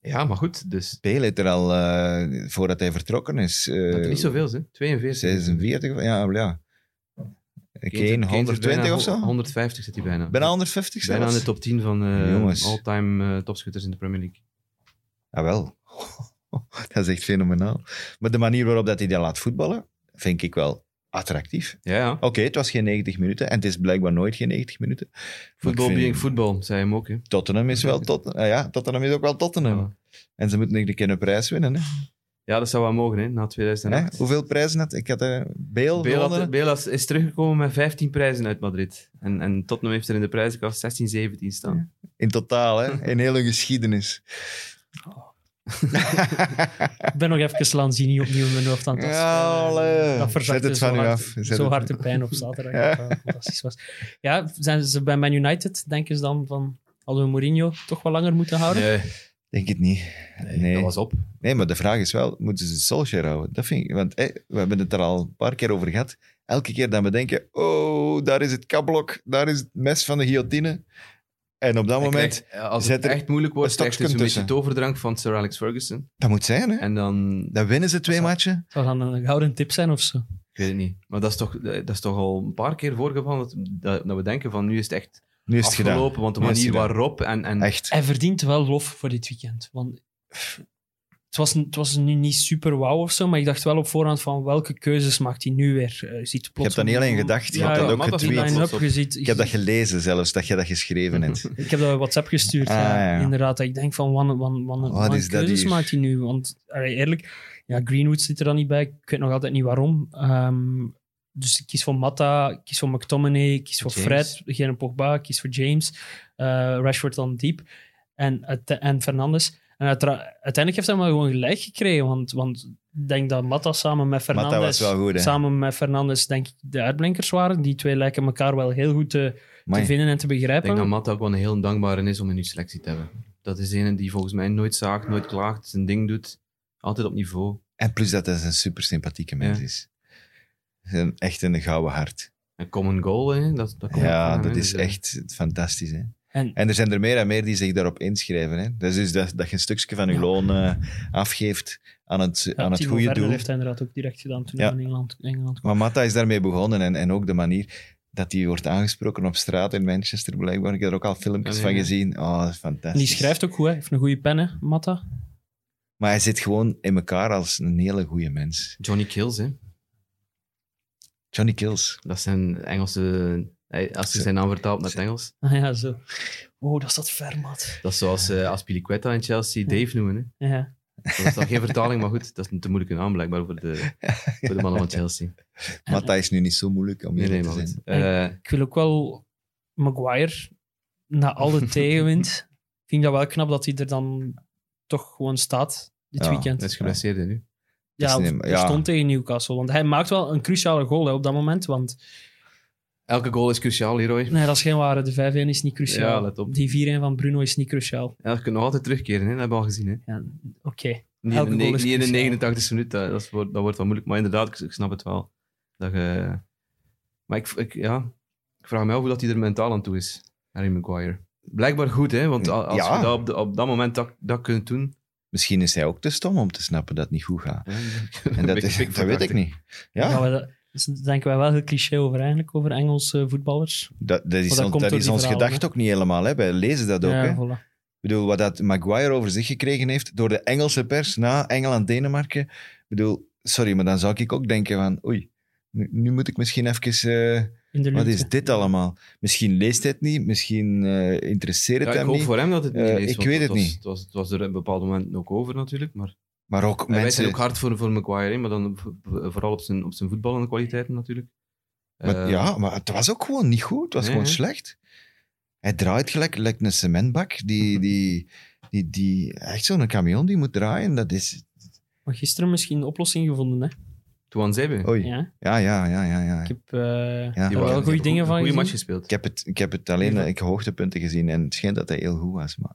Ja, maar goed, dus
Beel heeft er al, eh, voordat hij vertrokken is... eh,
dat er niet zoveel zijn. 42.
46, of- ja, ja.
Kane zit-
Kane,
Kane zit
120
bijna
of zo?
ho- 150 zit hij bijna.
Bijna 150 zelfs?
Bijna in de top 10 van eh,
Jongens.
all-time eh, topschutters in de Premier League.
Jawel. Ah, dat is echt fenomenaal. Maar de manier waarop dat hij dat laat voetballen, vind ik wel attractief.
Ja, ja.
Oké, het was geen 90 minuten en het is blijkbaar nooit geen 90 minuten. Maar
Voetbal
ik vind-
being voetbal, zei hem ook. Hè.
eh, Tottenham is wel Tottenham. ja, Tottenham is ook wel Tottenham.
Ja.
En ze moeten nog een keer een prijs winnen. Hè?
Ja, dat zou wel mogen, hè, na 2008.
Hè? Hoeveel prijzen had Ik had eh Beel.
Bale, had-
gewonnen.
Bale is- is teruggekomen met 15 prijzen uit Madrid. En, en Tottenham heeft er in de prijzenkast 16, 17 staan.
In totaal, hè? In heel hun geschiedenis.
Ik ben nog even Lanzini opnieuw in mijn hoofd aan het afspelen.
Ja, allee.
Dat verzakte
Zet het
zo
van u
hard-
af. Zet
zo
het-
hard de pijn op zaterdag.
Ja.
Dat dat fantastisch was. Ja, zijn ze bij Man United, denken ze dan van... Hadden we Mourinho toch wel langer moeten houden?
Nee,
Denk het niet. Nee,
dat was op.
nee, maar de vraag is wel, moeten ze Solskjaer houden? Dat vind ik, want eh, we hebben het er al een paar keer over gehad. Elke keer dat we denken, oh, daar is het kablok, daar is het mes van de guillotine. En op dat moment,
Krijgt, eh, als
zet
het
er
echt moeilijk
een
wordt,
stokje
krijgt het een beetje
tussen.
toverdrank van Sir Alex Ferguson.
dat moet zijn, hè?
En dan,
Dan winnen ze twee
Dat
matchen.
Zou dan een gouden tip zijn of zo?
ik weet het niet. Maar dat is toch, dat is toch al een paar keer voorgevallen dat, dat, dat we denken van nu is het echt
Nu is het
afgelopen.
gedaan.
Want de
Nu is het
manier
gedaan.
waarop en, en
Echt.
Hij verdient wel lof voor dit weekend. Want pff, het was, het was nu niet super wauw of zo, maar ik dacht wel op voorhand van welke keuzes maakt hij nu weer. Eh, Je ziet
Je
plots
hebt dat niet alleen gedacht, je
Ja,
hebt
ja,
dat
maar
ook
dat is
getweet.
niet
line-up,
Plots op.
je ziet-
Ik heb dat gelezen zelfs, dat je dat geschreven hebt.
Ik heb dat op WhatsApp gestuurd.
Ah,
ja.
ja.
Inderdaad, dat ik denk van, wan, wan, wan,
Wat
wan-
is dat
keuzes
hier?
maakt hij nu? Want allee, eerlijk, ja, Greenwood zit er dan niet bij. Ik weet nog altijd niet waarom. Ehm, dus ik kies voor Matta, ik kies voor McTominay, ik kies voor
James.
Fred, geen Pogba, ik kies voor James, eh, Rashford dan diep en, uite- en Fernandes. En uitera- uiteindelijk heeft hij maar gewoon gelijk gekregen, want, want ik denk dat Matta samen met
was
Fernandes,
wel goed, hè?
samen met Fernandes denk ik de uitblinkers waren. Die twee lijken elkaar wel heel goed te, te
Amai.
vinden en te
ik
begrijpen.
denk dat Matt ook wel een heel dankbare is om in uw selectie te hebben. Dat is een die volgens mij nooit zaagt, nooit klaagt, zijn ding doet. Altijd op niveau.
En plus dat hij een super sympathieke mens
Ja.
is. Een, echt een gouden hart.
Een common goal, hè? Dat, dat komt ook van
Ja,
hem, hè.
dat is
Dus, eh,
echt fantastisch. Hè?
En-
En er zijn er meer en meer die zich daarop inschrijven. Hè? Dat is dus dat, dat je een stukje van je
Ja.
loon eh, afgeeft aan het,
Ja,
aan het
Timo
goede
Werner
doel.
heeft hij inderdaad ook direct gedaan toen
Ja.
hij in Engeland, Engeland kwam.
Maar Matta is daarmee begonnen en, en ook de manier dat hij wordt aangesproken op straat in Manchester, blijkbaar. Ik heb er ook al filmpjes
Ja,
van
ja.
gezien. Oh, dat is
En
fantastisch.
die schrijft ook goed, hè. heeft een goede pen, hè, Matta.
Maar hij zit gewoon in elkaar als een hele goede mens.
Johnny Kills, hè?
Johnny Kills.
Dat zijn Engelse. hij- Als je zijn naam vertaalt naar het Engels.
Ah, ja, zo. Oh, dat staat ver, Mat.
Dat is zoals eh Aspilicueta in Chelsea Dave noemen. Hè.
Ja.
Dat is dan geen vertaling, maar goed, dat is een te moeilijke naam blijkbaar voor de, voor de mannen van Chelsea.
Matta is nu niet zo moeilijk om
Nee,
hier
nee,
te
maar
zijn.
goed. Eh,
Ik wil ook wel Maguire, na alle tegenwind, vind ik dat wel knap dat hij er dan toch gewoon staat dit
Ja,
weekend.
dat is geblesseerd hè, nu.
dat
ja,
is niet-
hij
ja.
stond tegen Newcastle. Want hij maakt wel een cruciale goal hè, op dat moment, want
Elke goal is cruciaal, Leroy.
nee, dat is geen ware. De 5-1 is niet cruciaal.
Ja, let op.
Die 4-1 van Bruno is niet cruciaal.
Ja, dat kunnen we nog altijd terugkeren, hè. dat hebben we al gezien. Hè.
Ja, Oké.
Niet,
Elke
in de,
goal
ne-
is
niet in de
cruciaal.
89 e minuut, dat, dat, is- wordt- dat wordt wel moeilijk. Maar inderdaad, ik, ik snap het wel. Dat je- maar ik, ik, ja, ik vraag me af hoe dat hij er mentaal aan toe is, Harry Maguire. Blijkbaar goed, hè? want a- als
Ja.
je dat op, de- op dat moment dat, dat kunt doen...
Misschien is hij ook te stom om te snappen dat het niet goed gaat. En dat, is, dat weet ik niet.
Ja.
Ja,
we- dat dus daar denken wij wel heel cliché over eigenlijk, over Engelse voetballers.
dat, dat is,
dat
ons,
komt
dat
door
is
die
ons
verhalen,
gedacht ook niet helemaal. Hè. Wij lezen dat ook.
ja,
Hè. Ik
voilà.
bedoel, wat dat Maguire over zich gekregen heeft door de Engelse pers na Engeland-Denemarken. Ik bedoel, sorry, maar dan zou ik ook denken van oei, nu, nu moet ik misschien even... eh,
In de
wat
lucht,
is
hè.
dit allemaal? Misschien leest hij het niet, misschien eh, interesseert het
Ja, ik
hem
hoop
niet.
voor hem dat het niet
Eh,
is.
ik
want
weet het
was,
niet.
Het was, het was er op een bepaald moment ook over natuurlijk. Maar
Maar ook
Mensen... Wij
mensen...
zijn ook hard voor, voor Maguire, hè, maar dan v- v- vooral op zijn, op zijn voetballende kwaliteiten natuurlijk.
maar-
Eh,
ja, maar het was ook gewoon niet goed. Het was
Nee,
gewoon
hè.
slecht. Hij draait gelijk, lijkt een cementbak.
Mhm.
Die, die, die, die, echt zo'n camion die moet draaien. Dat is...
Maar gisteren misschien een oplossing gevonden, hè?
Tuan Zebe.
Oei.
Ja.
Ja, ja, ja, ja, ja.
Ik
Ik heb,
heb eh,
Ja.
er
Die
waren-
Oh, wel goede
heeft
dingen
een
van
goede match
gezien.
gespeeld.
het, ik heb het alleen eh, ik hoogtepunten gezien en het schijnt dat hij heel goed was. Maar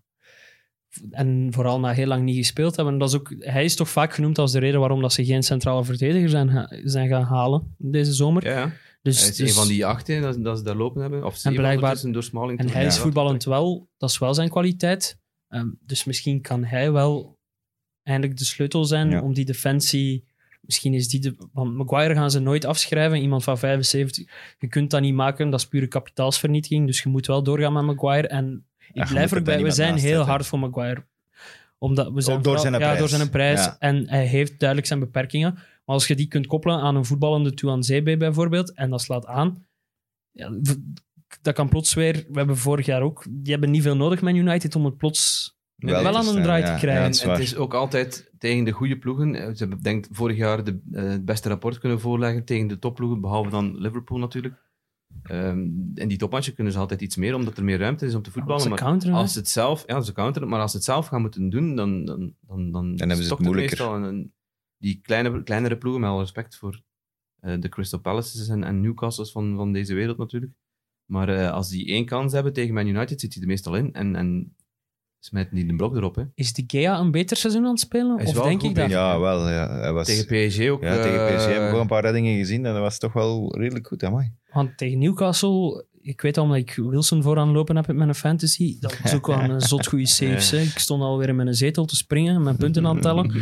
En vooral na heel lang niet gespeeld hebben. En dat is ook, hij is toch vaak genoemd als de reden waarom dat ze geen centrale verdediger zijn, ga- zijn gaan halen deze zomer.
Ja, ja.
Dus,
Hij is
dus-
een van die acht hè, dat, ze- dat ze daar lopen hebben. Of zeven
blijkbaar-
ondertussen door Smalling.
En
toe.
hij
Ja.
is voetballend wel, dat is wel zijn kwaliteit. Ehm, dus misschien kan hij wel eindelijk de sleutel zijn
Ja.
om die defensie. Misschien is die de. Want Maguire gaan ze nooit afschrijven. Iemand van 75. Je kunt dat niet maken, dat is pure kapitaalsvernietiging. Dus je moet wel doorgaan met Maguire. En ik
moet
blijf
er dan
erbij, we
iemand
zijn
naast
heel
zetten.
hard voor Maguire. Omdat we zijn
Ook door
vooral-
zijn
ja,
prijs.
door zijn prijs.
Ja.
En hij heeft duidelijk zijn beperkingen. Maar als je die kunt koppelen aan een voetballende Tuan Zebe bijvoorbeeld, en dat slaat aan, ja, v- dat kan plots weer... We hebben vorig jaar ook... Die hebben niet veel nodig, Man United, om het plots
Nee,
wel
het
aan
is,
een
eh,
draai
ja,
te
ja,
krijgen.
dat is
En
waar.
het is ook altijd tegen de goede ploegen. eh, Ze hebben denk ik vorig jaar de, eh, het beste rapport kunnen voorleggen tegen de topploegen, behalve dan Liverpool natuurlijk. Ehm in die topmatchen kunnen ze altijd iets meer, omdat er meer ruimte is om te voetballen.
Ze
maar
counteren, hè?
als ze het zelf, ja, ze counteren, het, maar als ze het zelf gaan moeten doen, dan, dan, dan, dan,
hebben ze het
stokt
moeilijker.
meestal. En, en die kleine, kleinere ploegen, met alle respect voor eh, de Crystal Palaces en, en Newcastles van, van deze wereld natuurlijk. Maar eh, als die één kans hebben tegen Man United, zit hij er meestal in en, en smijt niet de blok erop. Hè.
Is de Gea een beter seizoen aan het spelen?
Hij is
Of
wel
denk
goed
ik dat?
bezig.
Ja, wel. Ja, hij was,
Tegen PSG ook.
ja, tegen
eh,
PSG hebben we gewoon een paar reddingen gezien en dat was toch wel redelijk goed. Amai.
Want tegen Newcastle, ik weet al omdat ik Wilson vooraan lopen heb met mijn fantasy, dat is ook wel een zot goede saves. hè. Ik stond alweer in mijn zetel te springen, mijn punten aan het tellen.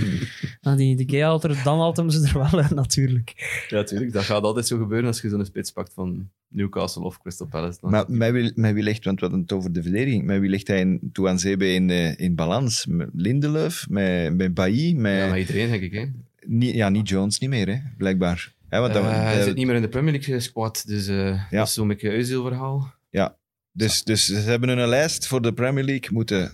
Maar die, die Gea had er, dan haalt hem ze er wel uit natuurlijk.
Ja, tuurlijk. Dat gaat altijd zo gebeuren als je zo'n spits pakt van Newcastle of Crystal Palace. Dan
Maar mij wil, mij wil echt, want we hadden het over de verdediging, mij wil echt hij in Touanzebe in, eh, in balans. Met Lindelöf, met, met Bailly, met...
ja, maar iedereen, denk ik. Hè.
niet, ja, niet Jones, niet meer, hè, blijkbaar. Hè, want dat,
Eh, hij
dat-
zit niet meer in de Premier League squad, dus eh, dat is zo'n beetje Özil verhaal.
dus, dus ze hebben hun lijst voor de Premier League moeten,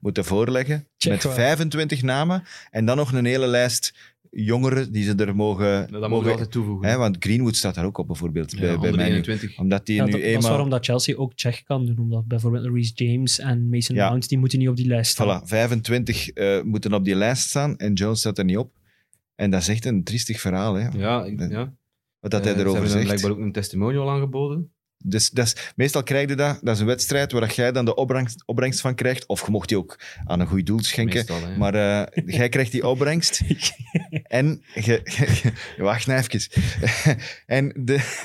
moeten voorleggen
Check
met
wel.
25 namen en dan nog een hele lijst jongeren die ze er mogen...
Nou, dat moet
mogen
je altijd toevoegen.
hè, want Greenwood staat daar ook op bijvoorbeeld,
Ja,
bij, bij
onder
mij nu.
21.
Omdat die
Ja,
nu
dat, dat is
eenmaal...
waarom dat Chelsea ook Czech kan doen, omdat bijvoorbeeld Reece James en Mason
Ja.
Mount, die moeten niet op die lijst staan.
Voilà, 25 eh, moeten op die lijst staan en Jones staat er niet op. En dat is echt een triestig verhaal, hè,
Ja, ik, ja.
wat dat hij
Eh, ze
erover
hebben hem
zegt.
blijkbaar ook een testimonial aangeboden.
Dus dat is, meestal krijg je dat, dat is een wedstrijd waar dat jij dan de opbrengst, opbrengst van krijgt. Of je mocht die ook aan een goed doel schenken.
Meestal, hè.
Maar eh, jij krijgt die opbrengst. en je, wacht nou even. en de,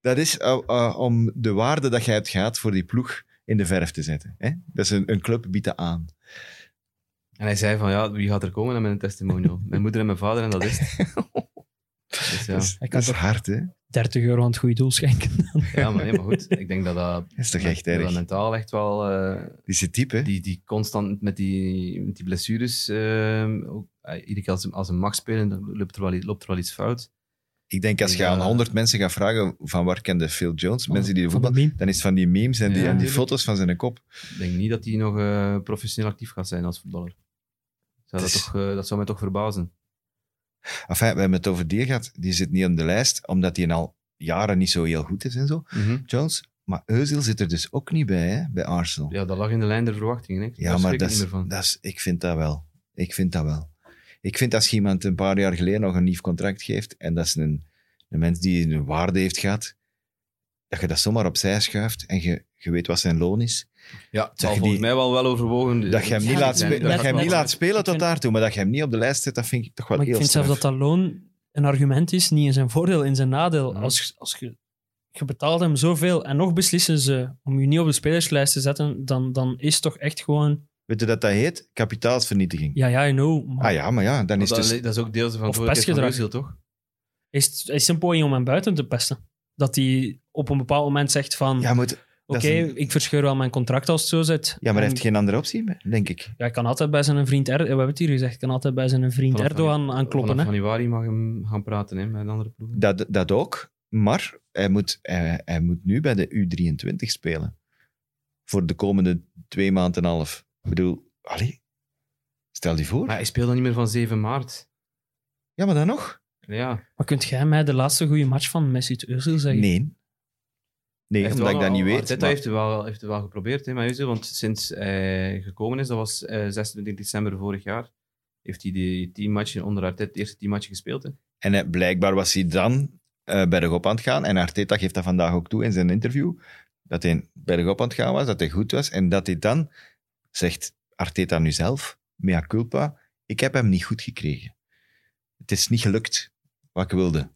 dat is eh, eh, om de waarde dat jij hebt gehad voor die ploeg in de verf te zetten. Hè? Dat is een, een club biedt dat aan.
En hij zei van, ja, wie gaat er komen dan met een testimonial? mijn moeder en mijn vader, en dat is het. Dus ja.
Dat is,
Hij kan
dat is
toch-
hard, hè?
30 euro aan het goede doel schenken.
ja, maar nee, maar goed. Ik denk dat dat,
Dat is toch echt
dat dat
erg.
mentaal echt wel... eh,
Die zit diep, hè?
die, die constant met die, met die blessures... ehm, ook, eh, iedere keer als ze, als ze mag spelen, dan loopt er wel, i- loopt er wel iets fout.
Ik denk als je
Ja.
aan 100 mensen gaat vragen van waar kende Phil Jones, mensen die de
Oh, Van de
voetbal...
meme.
Dan is het van die memes en die,
Ja,
en die
tuurlijk.
foto's van zijn kop.
Ik denk niet dat hij nog eh, professioneel actief gaat zijn als voetballer. Zou dat,
Dus-
toch, eh, dat zou mij toch verbazen.
Enfin, we hebben het over die gehad. Die zit niet op de lijst, omdat die al jaren niet zo heel goed is en zo. Jones. Maar Özil zit er dus ook niet bij, hè, bij Arsenal. Ja,
Ja, dat lag in de lijn der verwachtingen. Hè. Daar schrik
maar
ik
dat
niet
is,
meer van.
dat is, ik vind dat wel. Ik vind dat wel. Ik vind als je iemand een paar jaar geleden nog een nieuw contract geeft, en dat is een, een mens die een waarde heeft gehad, dat je dat zomaar opzij schuift en je, je weet wat zijn loon is.
Ja, het zal
je
volgens
die-
mij wel wel overwogen.
Dat je hem
Ja,
niet,
dat
laat,
is-
spe-
nee,
dat
dat
je hem
is-
niet laat spelen
ik
tot
vind-
daartoe, maar dat je hem niet op de lijst zet, dat vind ik toch wel
Maar ik
heel
vind zelfs
straf.
dat dat loon een argument is, niet in zijn voordeel, in zijn nadeel.
Ja.
Mhm.
Als, als je, je betaalt hem zoveel en nog beslissen ze om je niet op de spelerslijst te zetten, dan, dan is het toch echt gewoon...
Weet je dat dat heet? Kapitaalsvernietiging.
Ja, ja, I know. Maar
Ah ja, maar ja, dan
dat,
is het dus...
dat is ook deels van
Of
verantwoordelijkheid van
pestgedrag.
Özil, toch?
is, het- is het een poging om hem buiten te pesten? Dat hij op een bepaald moment zegt van...
Ja, maar, het-
Oké,
dat is een-
ik verscheur wel mijn contract als het zo zit.
ja, maar hij
En-
heeft geen andere optie, meer, denk ik.
ja, ik kan altijd bij zijn vriend... Er, we hebben het hier gezegd. Ik kan altijd bij zijn vriend
Vanaf
Erdogan aankloppen.
Vanaf
Hè?
januari mag hem gaan praten hè, met andere ploegen.
Dat, dat ook, maar hij moet, hij, hij moet nu bij de U23 spelen. Voor de komende twee maanden en een half. Ik bedoel, allee, stel die voor.
Maar hij speelt dan niet meer van 7 maart.
Ja, maar dan nog?
Ja,
Maar kunt jij mij de laatste goede match van Mesut Özil zeggen?
Nee. Nee, omdat ik dat niet weet.
Arteta
maar-
heeft het wel, heeft het wel geprobeerd hè, met Özil, want sinds hij gekomen is, dat was eh, 26 december vorig jaar, heeft hij die teammatchen onder Arteta, het eerste teammatje gespeeld. Hè.
En hij- blijkbaar was hij dan eh bergop aan het gaan. En Arteta geeft dat vandaag ook toe in zijn interview. Dat hij bergop aan het gaan was, dat hij goed was. En dat hij dan, zegt Arteta nu zelf, mea culpa, ik heb hem niet goed gekregen. Het is niet gelukt wat ik wilde.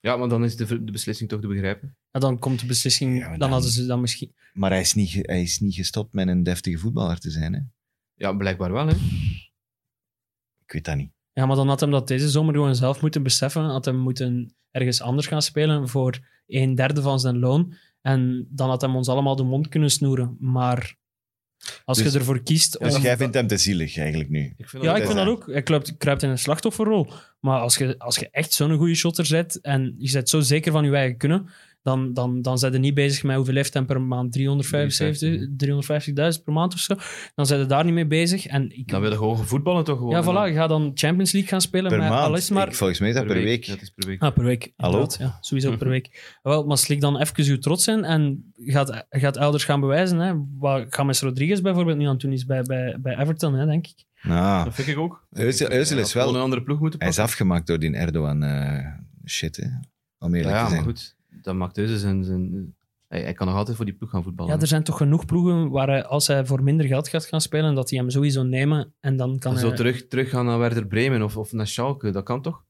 Ja, maar dan is de, ver- de beslissing toch te begrijpen.
Ja, dan komt de beslissing...
Ja, maar
dan,
dan-
hadden ze dan misschien...
Maar hij is niet, ge- hij is niet gestopt met een deftige voetballer te zijn. Hè?
Ja, blijkbaar wel. Hè.
Ik weet dat niet.
Ja, maar dan had hem dat deze zomer gewoon zelf moeten beseffen. Had hem moeten ergens anders gaan spelen voor een derde van zijn loon. En dan had hem ons allemaal de mond kunnen snoeren. Maar als
Dus-
je ervoor kiest om...
Dus jij vindt hem te zielig eigenlijk nu.
Ik vind
ja, ik
is
vind dat
waar.
ook. Hij kruipt, kruipt in een slachtofferrol. Maar als je, als je echt zo'n goede shotter bent en je bent zo zeker van je eigen kunnen, dan, dan, dan zijn ze niet bezig met hoeveel heeft hij per maand, 375, 350.000 per maand of zo. Dan zijn ze daar niet mee bezig. En ik,
Dan wil je gewoon voetballen toch gewoon.
ja, voilà, je gaat dan Champions League gaan spelen
per
met
maand.
alles maar...
Ik- volgens mij is dat per, week.
Dat is per week.
Ah, per week.
Hallo?
inderdaad, Ja, sowieso per week. Wel, maar slik dan even uw trots in en gaat, gaat elders gaan bewijzen. Hè. Wat James Rodriguez bijvoorbeeld nu aan het doen is bij, bij, bij Everton, hè, denk ik.
Nou,
Dat vind ik ook.
Özil- Özil
Ja,
is wel-
gewoon een andere ploeg moeten
hij is
pakken.
afgemaakt door die Erdogan eh, shit, hè. Om eerlijk
ja,
te
maar
zijn.
goed. Dat maakt Özil zijn... zijn hij, hij kan nog altijd voor die ploeg gaan voetballen.
Ja, er zijn toch genoeg ploegen waar hij, als hij voor minder geld gaat gaan spelen, dat die hem sowieso nemen en dan kan eh,
En zo
hij...
terug, teruggaan naar Werder Bremen of, of naar Schalke, dat kan toch?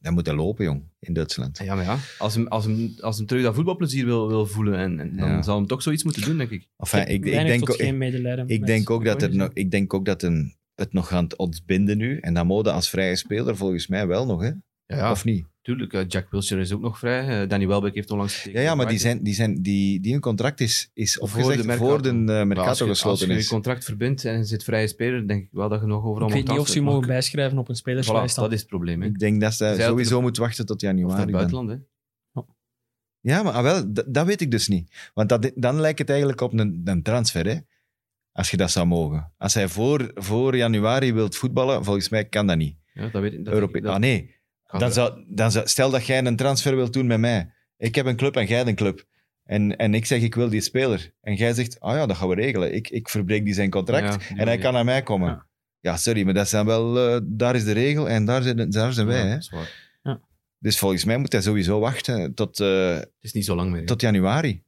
Dan moet hij lopen, jong, in
Ah
Duitsland.
Ja, maar ja. Als hem, als hem, als hem terug dat voetbalplezier wil, wil voelen, en, en dan
Ja.
zal hem toch zoiets moeten doen, denk ik.
Enfin, ik, ik,
weinig
denk,
tot
ook-
geen dus- medelijden.
ik
met
denk ook dat, er,
Rodriguez.
nog- ik denk ook dat een, het nog gaat ontbinden nu. En dat mode als vrije speler volgens mij wel nog, hè?
Ja, ja.
Of niet?
Tuurlijk, eh, Jack Wilshere is ook nog vrij. eh, Danny Welbeck heeft onlangs
Ja,
getekend.
ja maar die, zijn, die, zijn, die, die hun contract is, is
Voor de
opgezegd voor de,
Mercato.
eh,
Maar als
Mercato
je- Als
gesloten
je je
is.
contract verbindt en er zit vrije speler, denk ik wel dat je nog overal
Ik weet niet
moet
of ze
afzetten.
je mogen
Maar-
bijschrijven op een
Voilà,
spelerslijst. dan.
dat is het probleem. Hè.
Ik denk dat ze
Zij
sowieso moet wachten tot
Of naar
januari.
het
dan.
buitenland, hè.
Ja, maar ah, wel, d- dat weet ik dus niet. Want dat, dan lijkt het eigenlijk op een, een transfer, hè? Als je dat zou mogen. Als hij voor, voor januari wilt voetballen, volgens mij kan dat niet.
Ja, dat weet ik. Dat
Europe-
dat-
ah nee,
gaat-
dan zou, dan zou, stel dat jij een transfer wilt doen met mij. Ik heb een club en jij hebt een club. En, en ik zeg, ik wil die speler. En jij zegt, ah ja, dat gaan we regelen. Ik, ik verbreek die zijn
Ja,
contract
op die
en hij
manier.
kan naar mij komen. Ja,
Ja.
sorry, maar dat zijn wel, eh, daar is de regel en daar zijn, daar zijn wij.
Ja,
Hè?
dat is waar.
Dus volgens mij moet hij sowieso wachten tot, eh,
Het is niet zo lang meer. hè.
tot januari.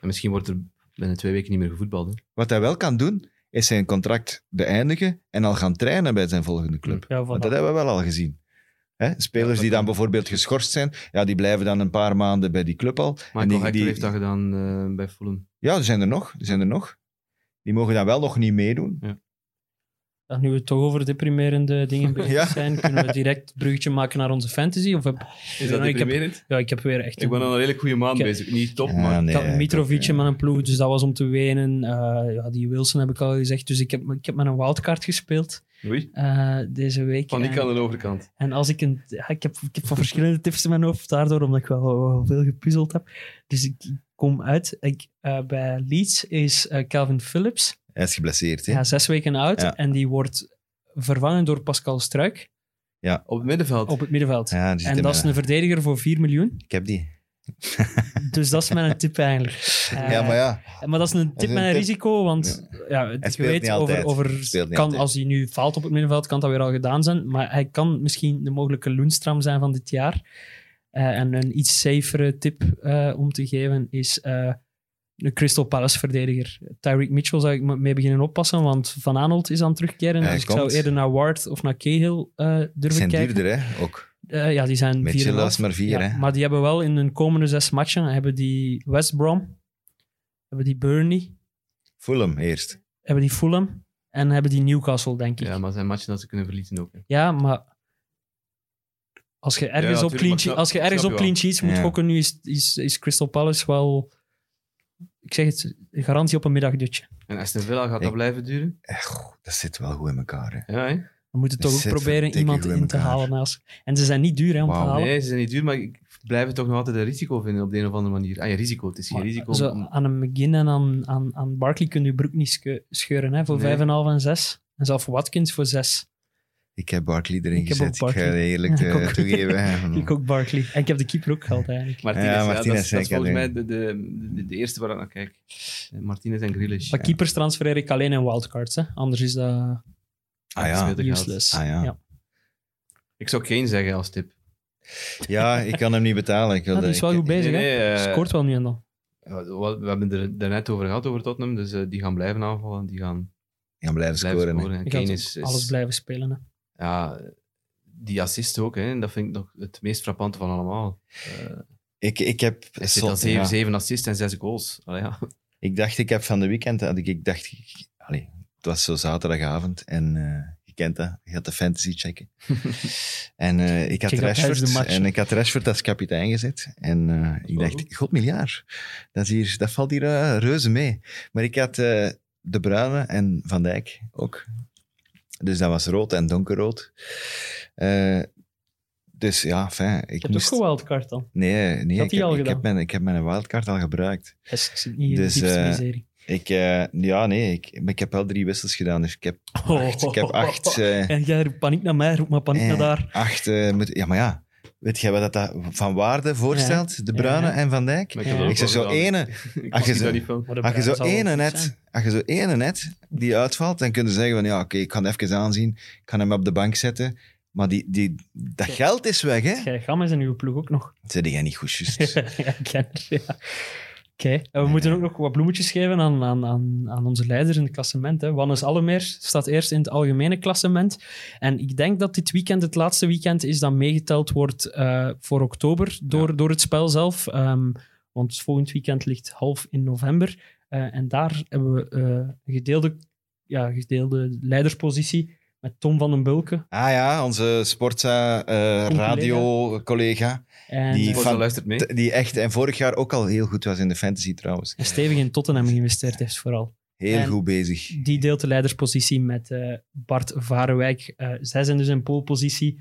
En misschien wordt er binnen twee weken niet meer gevoetbald. Hè.
Wat hij wel kan doen, is zijn contract beëindigen en al gaan trainen bij zijn volgende club.
Ja, voilà.
Want dat hebben we wel al gezien. Hè? Spelers
Ja, dat
die dan
kan.
bijvoorbeeld geschorst zijn, ja, die blijven dan een paar maanden bij die club al.
Michael
En die-
Hector
die-
heeft dat gedaan eh, bij Fulham.
Ja, er zijn er nog. Er zijn er nog. Die mogen dan wel nog niet meedoen.
Ja, nu we toch over deprimerende dingen bezig
Ja.
zijn, kunnen we direct het bruggetje maken naar onze fantasy? Of heb,
Is
dat ik
dat
heb-
deprimerend? Ik,
ja, ik heb weer echt...
ben al een redelijk goede maand
Ik-
bezig. Niet top,
Ja,
maar...
nee,
Ik had een
ik
Mitrovic
ook,
in
ja.
mijn ploeg, dus dat was om te wenen. Eh, ja, die Wilson heb ik al gezegd, dus ik heb, ik heb met een wildcard gespeeld
Oei,
eh, deze week.
van ik
en,
aan de overkant.
en als ik een... ja, ik, heb, ik heb van verschillende tips in mijn hoofd, daardoor omdat ik wel, wel veel gepuzzeld heb. Dus ik kom uit. Ik, eh, bij Leeds is eh, Calvin Phillips,
Hij is geblesseerd. Hè?
ja, zes weken oud,
Ja.
en die wordt vervangen door Pascal Struik
Op het middenveld.
op het middenveld.
Ja, dus die zit eh,
En
in
dat is
mijn-
een verdediger voor 4 miljoen.
Ik heb die.
Dus dat is mijn tip eigenlijk. Eh,
ja, maar ja.
Maar dat is een
is
tip
een
met een
tip.
risico, want ja. je
speelt
weet,
niet
over,
altijd.
over
Speelt niet
kan,
altijd.
als hij nu faalt op het middenveld, kan dat weer al gedaan zijn. Maar hij kan misschien de mogelijke Loenstram zijn van dit jaar. Eh, en een iets safere tip eh, om te geven is eh, de Crystal Palace-verdediger. Tyreek Mitchell zou ik me- mee beginnen oppassen, want Van Aanholt is aan het terugkeren.
Hij
dus ik
komt.
zou eerder naar Ward of naar Cahill eh
Die
durven
zijn
kijken.
duurder, hè? Ook.
Eh, ja, die zijn
Mitchell
4,5.
was maar vier,
Ja,
hè?
Maar die hebben wel in hun komende zes matchen hebben die West Brom, hebben die Burnley,
Fulham eerst.
hebben die Fulham en hebben die Newcastle, denk ik.
Ja,
Ja,
maar zijn matchen dat ze kunnen verliezen ook. hè.
maar als je ergens
Ja,
op
tuurlijk,
clean,
maar
sheet-
snap-
als je ergens
snap
op
je
clean sheets moet
Ja.
gokken, nu is, is, is Crystal Palace wel, ik zeg het, een garantie op een middagdutje.
En Aston Villa gaat
Ik-
dat blijven duren?
Eh, goh, dat zit wel goed in elkaar. Hè?
Ja, hè?
We moeten
Dat
toch ook
zit
proberen
verdikke
iemand
goed in
in te
elkaar.
halen naast. En ze zijn niet duur hè, om te
Wauw,
halen.
Nee, ze zijn niet duur, maar ik blijf het toch nog altijd een risico vinden op de een of andere manier. Ah ja, risico. Het is geen
Maar
risico.
zo
om-
aan een McGinn en aan, aan, aan Barkley kun je broek niet sche- scheuren hè, voor
Nee.
5,5 en 6. En zelf Watkins voor 6.
Ik heb Barkley erin
Ik heb ook
gezet. Ik ga
Barkley.
eerlijk
Ja, ik ook.
te, toegeven. hè.
Hmm.
Ik ook Barkley. En ik heb de keeper ook gehad eigenlijk.
Martinez,
Ja,
ja,
Martinez,
dat, is- dat is
zeker,
volgens
ja.
mij de, de, de, de eerste waar ik naar kijk. Eh, Martinez en Grealish.
Maar keepers transfereer ik alleen in wildcards. Hè. Anders is dat
Ah
Dat
ja.
speelt er geld.
useless.
Ah, ja.
Ik zou geen zeggen als tip.
ja, ik kan hem niet betalen. Ik wil
Ah, die
dat-
is wel
ik-
goed bezig.
Nee, nee,
hè.
eh,
Scoort wel nu en dan.
Wat- We hebben er daarnet over gehad, over Tottenham. Dus eh, die gaan blijven aanvallen. Die gaan
Ik kan blijven
blijven
scoren. hè.
scoren. En
Je
Kane
gaat
is, is-
alles blijven spelen. Hè.
ja, die assist ook. Hè. En dat vind ik nog het meest frappante van allemaal. Eh
Ik, ik heb...
hij zit
zot,
al zeven,
ja.
zeven assists en zes goals. Allee, ja.
Ik dacht, ik heb van de weekend, had ik, ik dacht, ik- allee, het was zo zaterdagavond en eh, je kent dat, je gaat de fantasy checken. en eh, ik had
Check dat tijdens de
Rashford
match.
en ik had Rashford als kapitein gezet. En eh, ik
wel
dacht,
goed.
god miljard, dat, is hier, dat valt hier eh, reuze mee. Maar ik had eh, De Bruyne en Van Dijk ook. Dus dat was rood en donkerrood. Eh, Dus ja, fijn. Ik
Je hebt
moest...
ook een wildcard dan.
Nee, nee
Had
ik,
hij
heb,
al
ik, heb
gedaan?
mijn, ik heb mijn wildcard al gebruikt.
Yes, ik zit niet in
Dus,
de diepste
eh,
miserie.
Ik, eh, ja, nee, ik, maar ik heb wel drie wissels gedaan. Dus ik heb acht. Ik heb acht, eh,
En jij roept paniek naar mij, roep maar paniek naar
eh,
daar.
acht eh, moet- ja, maar ja. Weet jij wat dat, dat van waarde voorstelt? De
Ja,
Bruyne
ja.
en Van Dijk?
Ja.
Ik zeg zo
één.
ene.
Ik
Als je
zie
zo-
daar niet van.
Maar de
Als Ah,
Bruin
je zo
zal wel
ene
goed
net,
zijn.
als je zo ene net die uitvalt, dan kun je zeggen van ja, oké, ik kan even aanzien. Ik kan hem op de bank zetten. Maar die, die, dat
Ja.
geld is weg, hè?
Jij Gammes en uw ploeg ook nog.
Zit jij niet goed, juist.
ja, ik ken het, ja. Oké, en we moeten ook nog wat bloemetjes geven aan, aan, aan, aan onze leiders in het klassement. Hè. Wannes Allemeer staat eerst in het algemene klassement. En ik denk dat dit weekend het laatste weekend is dat meegeteld wordt eh, voor oktober door, door het spel zelf. Ehm, want volgend weekend ligt half in november. Eh, en daar hebben we eh, een gedeelde, ja, gedeelde leiderspositie met Tom van den Bulke.
Ah ja, onze eh, sportradio-collega.
En,
Die
eh,
Bozo
van-
luistert mee.
die echt, en vorig jaar ook al heel goed was in de fantasy trouwens.
en stevig in Tottenham geïnvesteerd heeft vooral.
Heel
En-
goed bezig.
Die deelt de leiderspositie met eh, Bart Varewijk. Eh, zij zijn dus in polepositie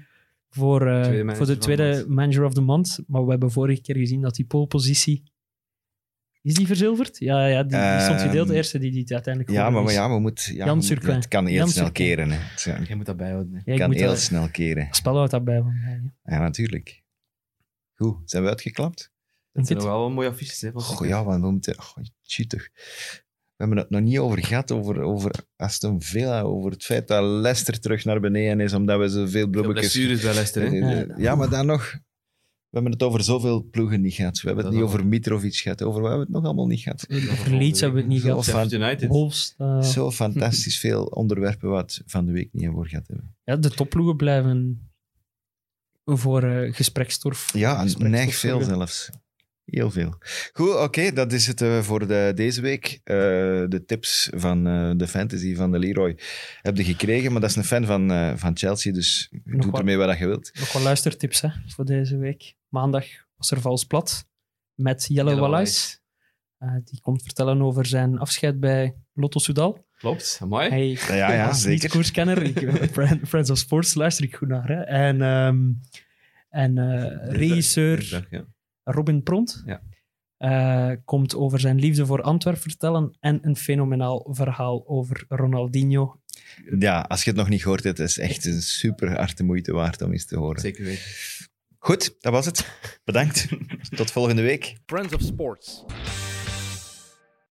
voor, eh,
Tweede manager
voor de
van de
tweede
maand.
manager of the month. Maar we hebben vorige keer gezien dat die polepositie... Is die verzilverd? Ja, ja die, die stond gedeeld. De
Ehm,
eerste die die het uiteindelijk
Ja, maar,
geworden
maar
is.
ja, we moeten... Ja,
dus Jan
we moeten-
Surquin.
Het kan heel
Jan
snel
Surquin.
keren. Hè. Het ja,
Jij moet dat bijhouden. hè.
Ja, ik
kan
moet
heel
dat-
snel keren.
Het spel houdt dat bij van mij.
Ja, natuurlijk. Goed, zijn we uitgeklapt?
Dat zijn nog wel mooie affiches. Hè, van
Goh, ja, want we moeten... Goh, shit, toch. We hebben het nog niet over gehad, over, over Aston Villa, over het feit dat Leicester terug naar beneden is, omdat we zoveel
Veel
bloemetjes... Eh,
blessures bij Leicester. Hè?
hè?
Ja, maar dan nog... We hebben het over zoveel ploegen niet gehad. We hebben het
Dat
niet over Mitrovic gehad. Over wat hebben we het nog allemaal niet gehad?
Over Leeds hebben we het niet
Zo
gehad.
Sheffield United.
Wolves, eh,
Zo fantastisch veel onderwerpen wat van de week niet hebben gehad hebben.
ja, de topploegen blijven voor eh gespreksstof.
Ja,
Gespreksstof
neig veel
zorgen.
zelfs. Heel veel. Goed, oké, dat is het eh, voor de, deze week. Eh, de tips van eh, de fantasy van de Leroy heb je gekregen, maar dat is een fan van, eh, van Chelsea, dus doe
wat?
ermee wat je wilt.
Nog wat luistertips hè, voor deze week. Maandag was er Vals Plat met Jelle,
Jelle
Wallace. Eh, die komt vertellen over zijn afscheid bij Lotto Soudal.
Klopt, mooi.
Hij
Ja, ja,
als
zeker.
niet-koerskenner. ik- Friend- Friends of Sports luister ik goed naar. Hè. En, ehm, en eh, regisseur
Ja.
Robin Pront
Ja.
eh, komt over zijn liefde voor Antwerpen vertellen en een fenomenaal verhaal over Ronaldinho.
Ja, als je het nog niet gehoord hebt, is echt een super hard de moeite waard om eens te horen.
Zeker weten.
Goed, dat was het. Bedankt. Tot volgende week.
oh, Friends of Sports.